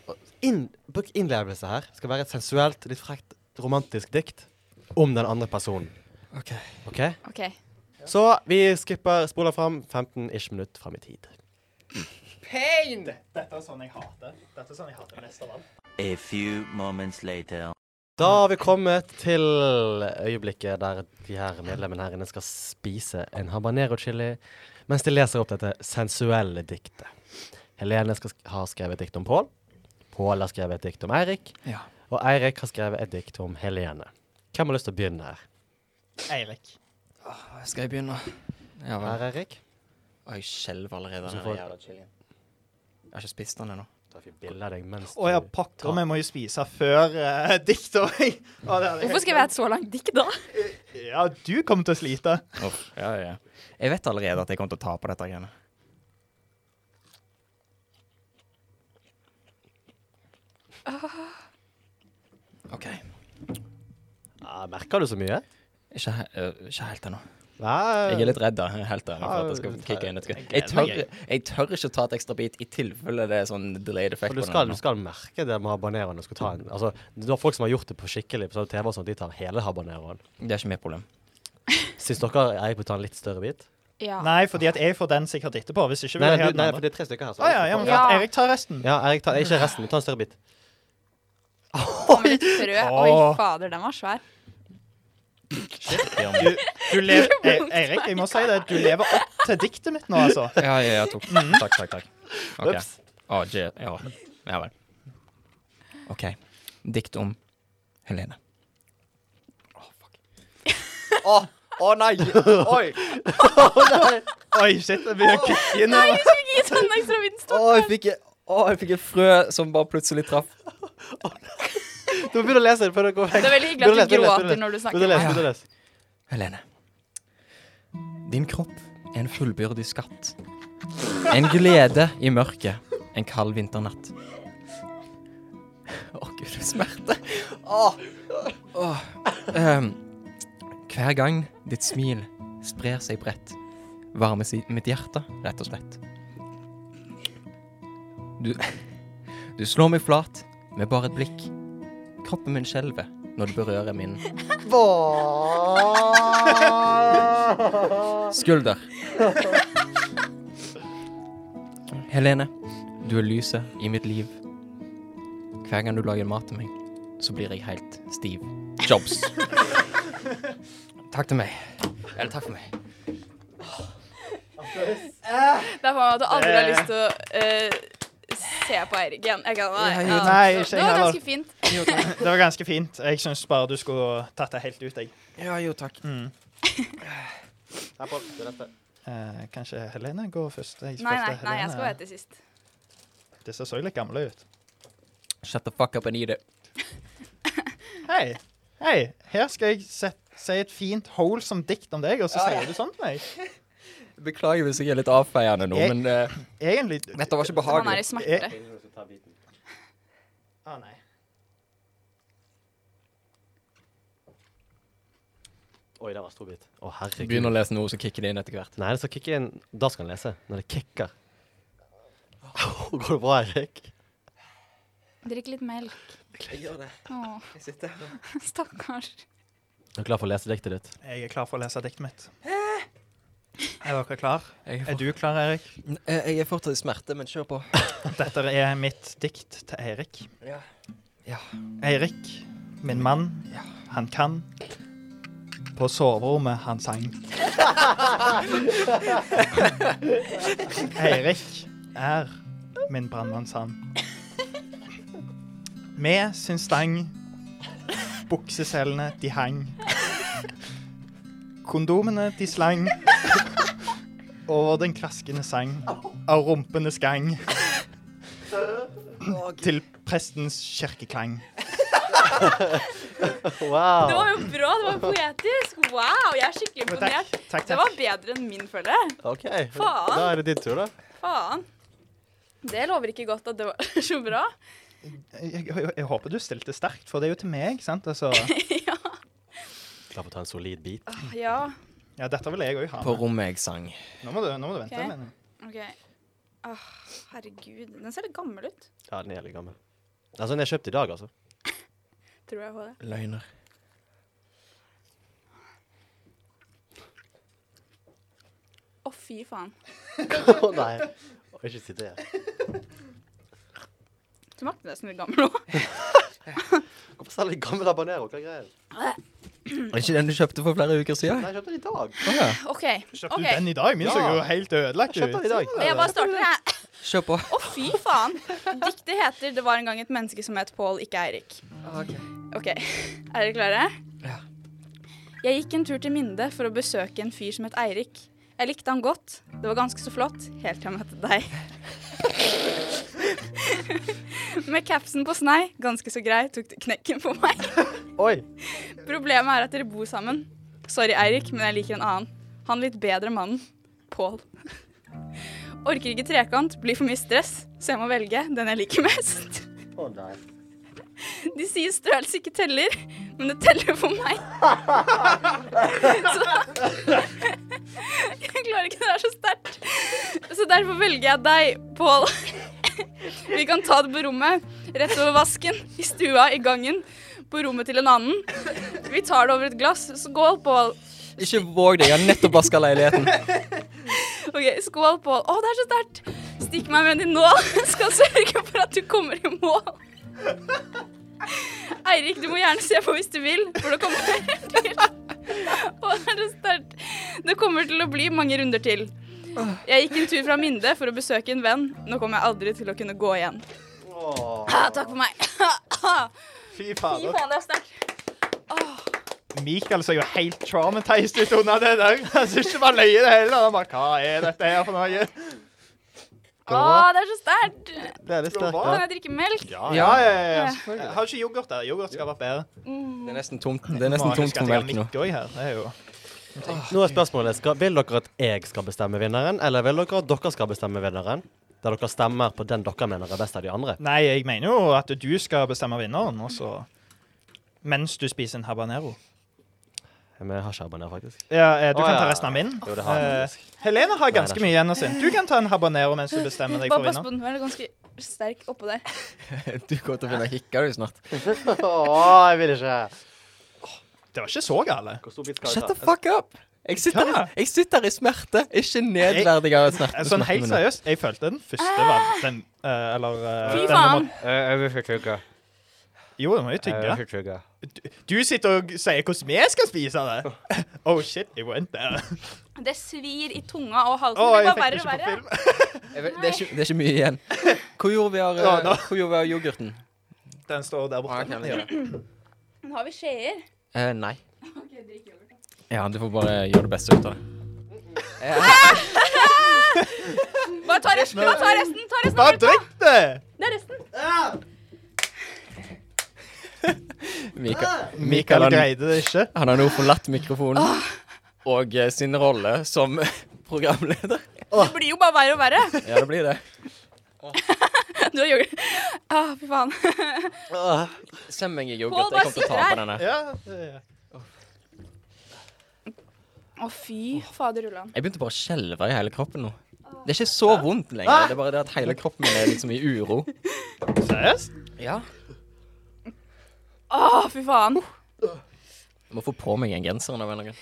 Speaker 1: et inn, Bruk innlevelse her. Det skal være et sensuelt, litt frekt, romantisk dikt om den andre personen.
Speaker 2: Ok.
Speaker 1: Ok?
Speaker 3: OK.
Speaker 1: Så vi skipper, spoler fram 15-ish minutt fram i tid.
Speaker 4: Dette er sånn jeg hater. Dette er sånn jeg hater mest av alt.
Speaker 7: A few moments later.
Speaker 1: Da har vi kommet til øyeblikket der de her medlemmene her inne skal spise en habanero-chili mens de leser opp dette sensuelle diktet. Helene skal, sk- har skrevet et dikt om Pål. Pål har skrevet et dikt om Eirik.
Speaker 2: Ja.
Speaker 1: Og Eirik har skrevet et dikt om Helene. Hvem har lyst til å begynne her?
Speaker 4: Eirik.
Speaker 2: Skal jeg begynne? Ja, vel.
Speaker 1: Her, Eirik.
Speaker 2: Å, jeg skjelver allerede.
Speaker 1: Så
Speaker 2: den
Speaker 1: får-
Speaker 2: jævla chilien. Jeg har ikke spist den ennå.
Speaker 1: Da fikk bilde av deg mens
Speaker 4: Å ja, pokker, vi må jo spise før uh, [LAUGHS] dikt og jeg. Å, det hadde jeg
Speaker 3: Hvorfor skrev jeg et så langt dikt, da?
Speaker 4: Ja, du kommer til å slite.
Speaker 2: Ja, ja. Jeg vet allerede at jeg kommer til å tape dette greiene. OK.
Speaker 1: ja, Merker du så mye?
Speaker 2: Ikke, he- øh, ikke helt ennå.
Speaker 1: Nei.
Speaker 2: Jeg er litt redd da, helt ennå, for at det skal
Speaker 1: Ja,
Speaker 2: kicke inn et skudd.
Speaker 4: jeg
Speaker 2: Jeg
Speaker 4: gleder
Speaker 2: tør,
Speaker 4: meg,
Speaker 2: jeg tør ikke ta et ekstra bit i tilfelle det er sånn delayed effect
Speaker 1: For du
Speaker 2: på
Speaker 1: skal,
Speaker 2: den.
Speaker 1: du
Speaker 2: ennå.
Speaker 1: skal merke det med habaneroen. Du skal ta en, altså, det er folk som har gjort det på skikkelig på sånn TV, og sånt, de tar hele habaneroen.
Speaker 2: Det er ikke mitt problem.
Speaker 1: Syns dere Eirik bør ta en litt større bit?
Speaker 3: Ja.
Speaker 4: Nei, fordi at jeg får den sikkert etterpå. Hvis ikke vil
Speaker 1: Nei, nei,
Speaker 4: jeg ha
Speaker 1: du,
Speaker 4: den
Speaker 1: nei, for
Speaker 4: andre.
Speaker 1: det er tre stykker her.
Speaker 4: Å ja, ja, men
Speaker 3: Ja.
Speaker 4: klart. Eirik tar resten.
Speaker 1: ja Eirik, ta, ikke resten. Ta en større bit.
Speaker 3: Kommer litt frø. Oi,
Speaker 4: Åh.
Speaker 3: fader, den var svær.
Speaker 4: Du, du lever, e Eirik, jeg må si det. Du lever opp til diktet mitt nå, altså.
Speaker 2: Ja, ja, ja,
Speaker 1: [LAUGHS]
Speaker 2: tok. Takk, takk, takk. Ok.
Speaker 1: Mhm. Ups.
Speaker 2: Å, je- ja. ja vel. OK. Dikt om Helene. Å, å nei! Oi!
Speaker 4: Oi, shit, jeg begynner å kukke inn her.
Speaker 3: Skal vi ikke gi sånn ekstra vinst?
Speaker 2: Å, jeg fikk, å, jeg fikk et frø som bare plutselig traff.
Speaker 1: Du må begynne å lese. det før Det går vekk.
Speaker 3: Det er veldig hyggelig at du gråter når du snakker.
Speaker 1: Begynn å lese, begynn å lese.
Speaker 2: Helene. Din kropp er en fullbyrdig skatt. En glede i mørket en kald vinternatt. Å, gud, smerte. Åh. Åh. Ehm, hver gang ditt smil sprer seg bredt, varmes i mitt hjerte, rett og slett. Du, du slår meg flat med bare et blikk. Kroppen min skjelver når du berører min Skulder. [LAUGHS] Helene, du er lyset i mitt liv. Hver gang du lager mat til meg, så blir jeg helt stiv. Jobs. Takk til meg. Eller takk for meg.
Speaker 3: Det er faen at du aldri har lyst til å eh, se på Eirik igjen. Jeg kan, nei, ja.
Speaker 4: Nei, ikke
Speaker 3: Det
Speaker 4: jeg
Speaker 3: var
Speaker 4: heller.
Speaker 3: ganske fint.
Speaker 4: Det var ganske fint. Jeg syns bare du skulle tatt det helt ut, jeg.
Speaker 2: Ja, jo, takk.
Speaker 1: Her på, det er dette.
Speaker 4: Eh, kanskje Helene går først? Jeg
Speaker 3: Nei, nei,
Speaker 4: følte
Speaker 3: nei, jeg skal
Speaker 4: Helene-
Speaker 3: være til sist.
Speaker 4: Disse så litt gamle ut.
Speaker 2: Shut the fuck up and eat it.
Speaker 4: Hei, hei, her skal jeg set, si et fint wholesome dikt om deg, og så sier du sånn til meg.
Speaker 2: Beklager hvis jeg er litt avfeiende nå,
Speaker 4: Jeg-
Speaker 2: men eh,
Speaker 4: Egentlig
Speaker 2: dette var ikke
Speaker 3: Han er
Speaker 2: behagelig.
Speaker 3: i smerte.
Speaker 4: Eh. Ah, nei.
Speaker 1: Oi, der var stor bit. Å, herregud.
Speaker 2: Begynn å lese noe, så kicker det inn etter hvert.
Speaker 1: Nei, det skal kicke inn. Da skal han lese. Når det kicker. [LAUGHS] Går det bra, Erik?
Speaker 3: Drikk litt melk. [LAUGHS] Å, stakkars.
Speaker 1: Er du klar for å lese diktet ditt?
Speaker 4: Jeg er klar for å lese diktet mitt. Er dere klar?
Speaker 2: Jeg
Speaker 4: Er du klar, Erik?
Speaker 2: eh, jeg er fortsatt i smerte, men kjør på.
Speaker 4: Dette er mitt dikt til Eirik.
Speaker 2: Ja. Ja.
Speaker 4: Eirik, min mann, han kan. På soverommet han sang. Eirik er min brannmannssand. Med sin stang, bukseselene de hang. Kondomene de slang over den klaskende sang av rumpenes gang til prestens kirkeklang.
Speaker 1: Wow.
Speaker 3: Det var jo bra. Det var poetisk. Wow, jeg er skikkelig
Speaker 4: Jo, Takk,
Speaker 3: imponert.
Speaker 4: takk,
Speaker 3: Det
Speaker 4: takk.
Speaker 3: var bedre enn min, føler jeg.
Speaker 1: OK.
Speaker 3: Faen.
Speaker 1: Da er det din tur, da.
Speaker 3: Faen. Det lover ikke godt at det var [LAUGHS] så bra.
Speaker 4: Jeg, jeg, jeg håper du stilte sterkt, for det er jo til meg, sant?
Speaker 3: [LAUGHS]
Speaker 4: Altså,
Speaker 3: Ja.
Speaker 1: Klar for å ta en solid bit?
Speaker 3: ja.
Speaker 4: ja, dette vil jeg òg ha.
Speaker 2: På rommet jeg sang.
Speaker 4: Nå må du, nå må du vente.
Speaker 3: Ok.
Speaker 4: Lene.
Speaker 3: OK. Åh, herregud. Den ser litt gammel ut.
Speaker 1: Ja, den er litt gammel. Altså, den er kjøpt i dag, altså.
Speaker 3: Tror jeg på det.
Speaker 2: Løgner.
Speaker 3: Å, fy faen.
Speaker 1: [LAUGHS] Å nei. Å, ikke si det.
Speaker 3: Smakte nesten litt gammel òg.
Speaker 1: Hvorfor selger de gammel habanero? Hva er greia?
Speaker 2: Er ikke den du kjøpte for flere uker siden?
Speaker 1: Nei, jeg kjøpte den i dag.
Speaker 2: Å ja.
Speaker 3: [LAUGHS] OK.
Speaker 4: Kjøpte
Speaker 3: ok.
Speaker 4: du den i dag? Min så
Speaker 1: Ja.
Speaker 4: jo helt ødelagt
Speaker 1: Jeg kjøpte den
Speaker 4: ut.
Speaker 1: i dag.
Speaker 3: Jeg bare starter, jeg.
Speaker 2: Kjør på.
Speaker 3: Å, fy faen. Diktet heter 'Det var en gang et menneske som het Pål, ikke Eirik'. OK. Er dere klare?
Speaker 2: Ja.
Speaker 3: Jeg gikk en tur til Minde for å besøke en fyr som het Eirik. Jeg likte han godt. Det var ganske så flott, helt til jeg møtte deg. Med capsen på snei, ganske så grei, tok du knekken på meg.
Speaker 1: Oi.
Speaker 3: Problemet er at dere bor sammen. Sorry, Eirik, men jeg liker en annen. Han litt bedre mannen. Pål. [LAUGHS] Orker ikke trekant, blir for mye stress, så jeg må velge den jeg liker mest.
Speaker 1: Å nei.
Speaker 3: [LAUGHS] De sier størrelse ikke teller, men det teller for meg. [LAUGHS] Så Jeg klarer ikke, det er så sterkt. Så derfor velger jeg deg, Pål. Vi kan ta det på rommet. Rett over vasken, i stua, i gangen. På rommet til en annen. Vi tar det over et glass. Skål, Pål.
Speaker 2: Ikke våg det. Jeg har nettopp vaska leiligheten.
Speaker 3: Ok, skål, Pål. Å, det er så sterkt. Stikk meg med din nål. [LAUGHS] Skal sørge for at du kommer i mål. Eirik, du må gjerne se på hvis du vil, for det kommer [LAUGHS] til Å, det er så sterkt. Det kommer til å bli mange runder til. Jeg gikk en tur fra Minde for å besøke en venn. Nå kommer jeg aldri til å kunne gå igjen. Ah, takk for meg. [LAUGHS]
Speaker 4: Fy
Speaker 3: Fy
Speaker 4: fader.
Speaker 3: faen, det er sterkt. Åh.
Speaker 4: Mikael så jo helt traumatized ut under det der. [LAUGHS] Han syntes ikke det var løye, det heller. Han bare Hva er dette her for noe?
Speaker 3: Å, det er så sterkt!
Speaker 1: Det er litt sterkt.
Speaker 3: Kan
Speaker 1: Ja.
Speaker 3: jeg drikke melk?
Speaker 4: Ja, ja, ja. Jeg har ikke yoghurt der. Yoghurt skal vært bedre.
Speaker 2: Det er nesten tomt Det er nesten
Speaker 4: Må
Speaker 2: tomt
Speaker 4: huske at
Speaker 2: for
Speaker 4: jeg har
Speaker 2: melk nå.
Speaker 4: midt også her. Det er jo
Speaker 1: Nå er spørsmålet skal, Vil dere at jeg skal bestemme vinneren, eller vil dere at dere skal bestemme vinneren? Der dere stemmer på den dere mener er best av de andre.
Speaker 4: Nei, jeg mener jo at du skal bestemme vinneren, og så Mens du spiser en habanero.
Speaker 1: Men jeg har ikke abonner, faktisk.
Speaker 4: Ja, eh, du
Speaker 1: Å,
Speaker 4: kan
Speaker 1: ja.
Speaker 4: ta resten av min.
Speaker 1: Jo, det har jeg
Speaker 4: Eh,
Speaker 1: faktisk.
Speaker 4: Helene har ganske
Speaker 1: det er
Speaker 4: mye igjen å si. Du kan ta en habanero mens du bestemmer deg
Speaker 3: Bare
Speaker 4: for
Speaker 3: pass
Speaker 4: vinneren.
Speaker 3: på den, for den er ganske sterk oppå der.
Speaker 2: [LAUGHS] Du kommer til å begynne å hikke du snart.
Speaker 1: Åh, jeg vil ikke.
Speaker 4: Det var ikke så gale.
Speaker 1: Hvor stor bit
Speaker 2: Shut the fuck up! Jeg sitter,
Speaker 4: Hva?
Speaker 2: jeg sitter i smerte, ikke nedverdigere
Speaker 4: Eh,
Speaker 2: smerte.
Speaker 4: Sånn
Speaker 2: smertene
Speaker 4: helt
Speaker 2: mine.
Speaker 4: seriøst, jeg følte den første var den eh, Eller eh,
Speaker 3: Ah. Fy
Speaker 4: den
Speaker 3: faen!
Speaker 4: nummer-
Speaker 1: Jeg vil Eh, ikke tygge.
Speaker 4: Jo, du må jo tygge.
Speaker 1: ikke tygge.
Speaker 4: Du sitter og sier hvordan vi skal spise det.
Speaker 1: [LAUGHS]
Speaker 4: Oh shit, jeg went there.
Speaker 3: Det svir i tunga og halsen.
Speaker 4: Å,
Speaker 3: det
Speaker 4: jeg
Speaker 3: er bare
Speaker 4: fikk det
Speaker 3: verre og
Speaker 4: ikke på
Speaker 3: verre.
Speaker 4: film. [LAUGHS]
Speaker 2: Jeg vet- Det er, ikke, det er ikke mye igjen. Hvor gjorde vi av,
Speaker 4: Ja,
Speaker 2: eh,
Speaker 4: da.
Speaker 2: hvor gjorde vi av yoghurten?
Speaker 4: Den står der borte.
Speaker 3: Men har vi skjeer?
Speaker 2: Eh, nei. Ja, du får bare gjøre det beste ut av det.
Speaker 3: Bare ta resten! Bare ta resten! Ta resten
Speaker 4: Da
Speaker 3: av melka.
Speaker 4: drikk det!
Speaker 3: Det er resten.
Speaker 2: Mikael,
Speaker 4: Ah, Mikael Ah.
Speaker 2: han-
Speaker 4: greide det ikke.
Speaker 2: han har nå forlatt mikrofonen og eh, sin rolle som [LAUGHS] programleder.
Speaker 3: Det blir jo bare verre og verre. [LAUGHS]
Speaker 2: Ja, det blir det.
Speaker 3: Du har yoghurt. Ah, fy faen.
Speaker 2: Send meg en
Speaker 3: Pål,
Speaker 2: yoghurt. Jeg
Speaker 3: bare
Speaker 2: kommer til å
Speaker 3: sitter
Speaker 2: ta
Speaker 3: her.
Speaker 2: på denne.
Speaker 4: Ja, det er-
Speaker 3: Å, fy faderullan.
Speaker 2: Jeg begynte bare å skjelve i hele kroppen nå. Det er ikke så vondt lenger. Det er bare det at hele kroppen min er liksom i uro.
Speaker 4: Seriøst?
Speaker 2: Ja.
Speaker 3: Å, fy faen.
Speaker 2: Jeg må få på meg en genser. Når jeg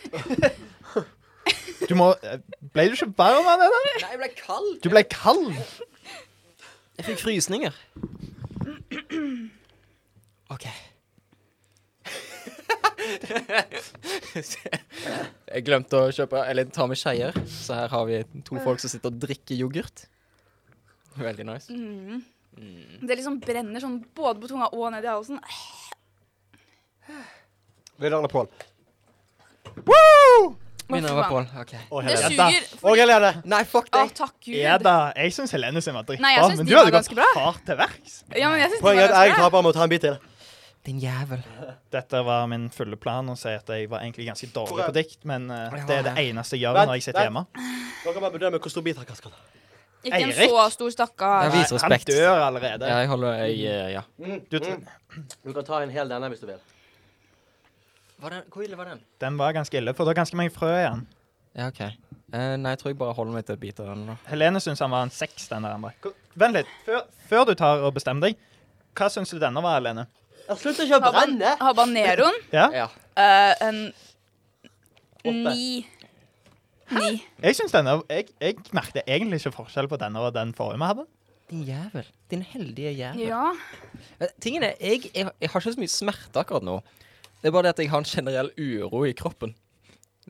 Speaker 4: Du må eh, Ble du ikke varm av det der?
Speaker 2: Nei, jeg ble kald.
Speaker 4: Du ble kald.
Speaker 2: Jeg fikk frysninger. OK. jeg glemte å kjøpe Eller ta med skeier, så her har vi to folk som sitter og drikker yoghurt. Veldig nice.
Speaker 3: Det liksom brenner sånn både på tunga og ned i halsen.
Speaker 1: Vinneren er Pål.
Speaker 2: Vinner var Pål. OK.
Speaker 1: Og
Speaker 3: Det
Speaker 1: Helene.
Speaker 3: suger.
Speaker 1: Og Helene.
Speaker 2: Nei, fuck
Speaker 3: Å,
Speaker 2: deg.
Speaker 3: takk gud.
Speaker 4: Ja da. Jeg syns Helene sin var
Speaker 3: Nei, jeg
Speaker 4: dritbra,
Speaker 3: synes
Speaker 4: men
Speaker 3: de
Speaker 4: du hadde
Speaker 3: var
Speaker 4: gått
Speaker 3: ganske bra.
Speaker 4: hardt til verks.
Speaker 3: Ja, men jeg synes
Speaker 1: Poenget er at
Speaker 3: det var
Speaker 1: jeg
Speaker 3: ganske bra.
Speaker 1: taper må ta en bit til.
Speaker 2: Din jævel.
Speaker 4: Dette var min fulle plan, å si at jeg var egentlig ganske dårlig på dikt, men eh, det er det eneste jeg gjør
Speaker 1: Vent,
Speaker 4: når jeg sitter
Speaker 1: vent.
Speaker 4: hjemme.
Speaker 1: Dere må bedømme hvor stor bit han skal ta.
Speaker 3: Ikke en
Speaker 4: Eirik.
Speaker 3: så stor
Speaker 2: Ja,
Speaker 3: stakkar.
Speaker 2: Vis
Speaker 4: Nei,
Speaker 2: respekt.
Speaker 4: Han dør allerede.
Speaker 2: Ja, jeg holder jeg, eh, Ja.
Speaker 4: Du,
Speaker 1: Mm. Du kan ta en hel denne hvis du vil.
Speaker 2: hvor ille var den?
Speaker 4: den var ganske ille, for det var ganske mange frø i den.
Speaker 2: Ja, OK. Eh, nei, jeg tror jeg bare holder meg til et bit av den. da.
Speaker 4: Helene syns han var en seks, den der. Andre. Ko- Vent litt. Før, før du tar og bestemmer deg, hva syns du denne var, Helene?
Speaker 1: Slutt ikke å
Speaker 3: Haban
Speaker 1: brenne!
Speaker 2: [LAUGHS]
Speaker 3: habaneroen.
Speaker 4: Ja?
Speaker 2: Ja.
Speaker 3: eh, en
Speaker 1: Åtte.
Speaker 3: ni. Ni.
Speaker 4: Jeg syns denne Jeg, jeg merket egentlig ikke forskjell på denne og den forrige vi hadde.
Speaker 2: Din jævel. Din heldige jævel.
Speaker 3: Ja.
Speaker 2: Eh, Tingen er, jeg, jeg, jeg har ikke så mye smerte akkurat nå. Det er bare det at jeg har en generell uro i kroppen.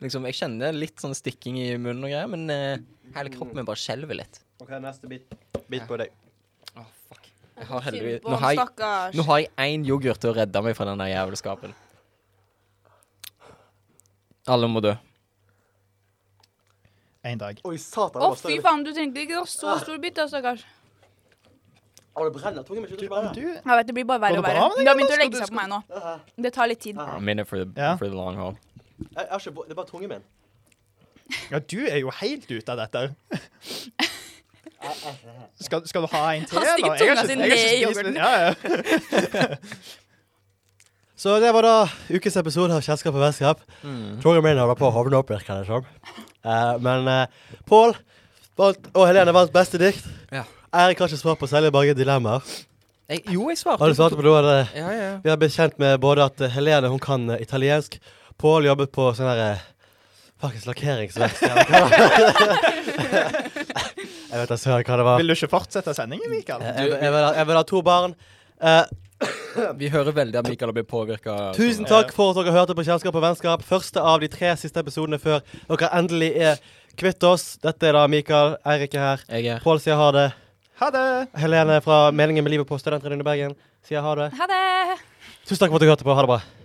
Speaker 2: Liksom, Jeg kjenner litt sånn stikking i munnen og greier, men eh, hele kroppen min bare skjelver litt.
Speaker 1: OK, neste bit. Bit på deg.
Speaker 2: Å, fuck. Jeg har heldigvis,
Speaker 3: Synd på
Speaker 2: nå
Speaker 3: han,
Speaker 2: har jeg,
Speaker 3: stakkars.
Speaker 2: nå har jeg én yoghurt til å redde meg fra denne jævelskapen. Alle må dø.
Speaker 4: En dag.
Speaker 1: Oi, satan.
Speaker 3: Å, fy faen, du trengte ikke å ha
Speaker 4: Ah.
Speaker 3: så stor bit, da, stakkars.
Speaker 1: Å, det brenner. Tungen min slutter å
Speaker 4: Du,
Speaker 1: brenne.
Speaker 3: Jeg vet, Det blir bare verre
Speaker 4: Går
Speaker 3: og
Speaker 4: det
Speaker 3: verre.
Speaker 4: bra med deg,
Speaker 3: Det har begynt å
Speaker 4: eller
Speaker 3: legge
Speaker 4: skal
Speaker 3: seg på meg nå. Det tar litt tid.
Speaker 2: A minute for the,
Speaker 4: Ja.
Speaker 2: for the long haul.
Speaker 1: Jeg, jeg har ikke, det er bare tungen min.
Speaker 4: ja, du er jo helt ute av dette. Skal, skal du ha en til,
Speaker 3: Han stikker
Speaker 4: Jeg
Speaker 3: tunga
Speaker 4: har ikke-
Speaker 3: si
Speaker 4: jeg har
Speaker 3: ned i
Speaker 4: ikke spist
Speaker 3: yoghurten.
Speaker 4: litt- Ja, ja.
Speaker 1: Så det var da ukens episode av Kjennskap og vennskap.
Speaker 2: Mm.
Speaker 1: Tungen min holder på å hovne opp, virker det som. Eh, men uh, Pål valgt- og Helene valgte beste dikt.
Speaker 2: Ja.
Speaker 1: Eirik har ikke svar på særlig mange dilemmaer.
Speaker 2: Jeg, jo, jeg svarte.
Speaker 1: Har du svart på noe av det?
Speaker 2: Ja, ja.
Speaker 1: Vi har blitt kjent med både at eh, Helene hun kan eh, italiensk. Pål jobbet på sånn her eh, Faktisk lakkeringsverksted. eller hva det var. [LAUGHS] jeg vet da søren hva det var.
Speaker 4: Vil du ikke fortsette sendingen, Mikael?
Speaker 1: Jeg, jeg, vil, ha- jeg vil ha to barn. Eh,
Speaker 2: Vi hører veldig at Mikael har blitt påvirka.
Speaker 1: tusen takk for at dere hørte på Kjennskap og vennskap. Første av de tre siste episodene før dere endelig er kvitt oss. Dette er da Mikael. Eirik er her.
Speaker 2: Jeg er
Speaker 1: Pål sier ha det.
Speaker 4: Ha det!
Speaker 1: Helene fra Meningen med livet på Studentradioen i Bergen sier ha det.
Speaker 3: Ha det.
Speaker 1: Tusen takk for at dere hørte på. Ha det bra.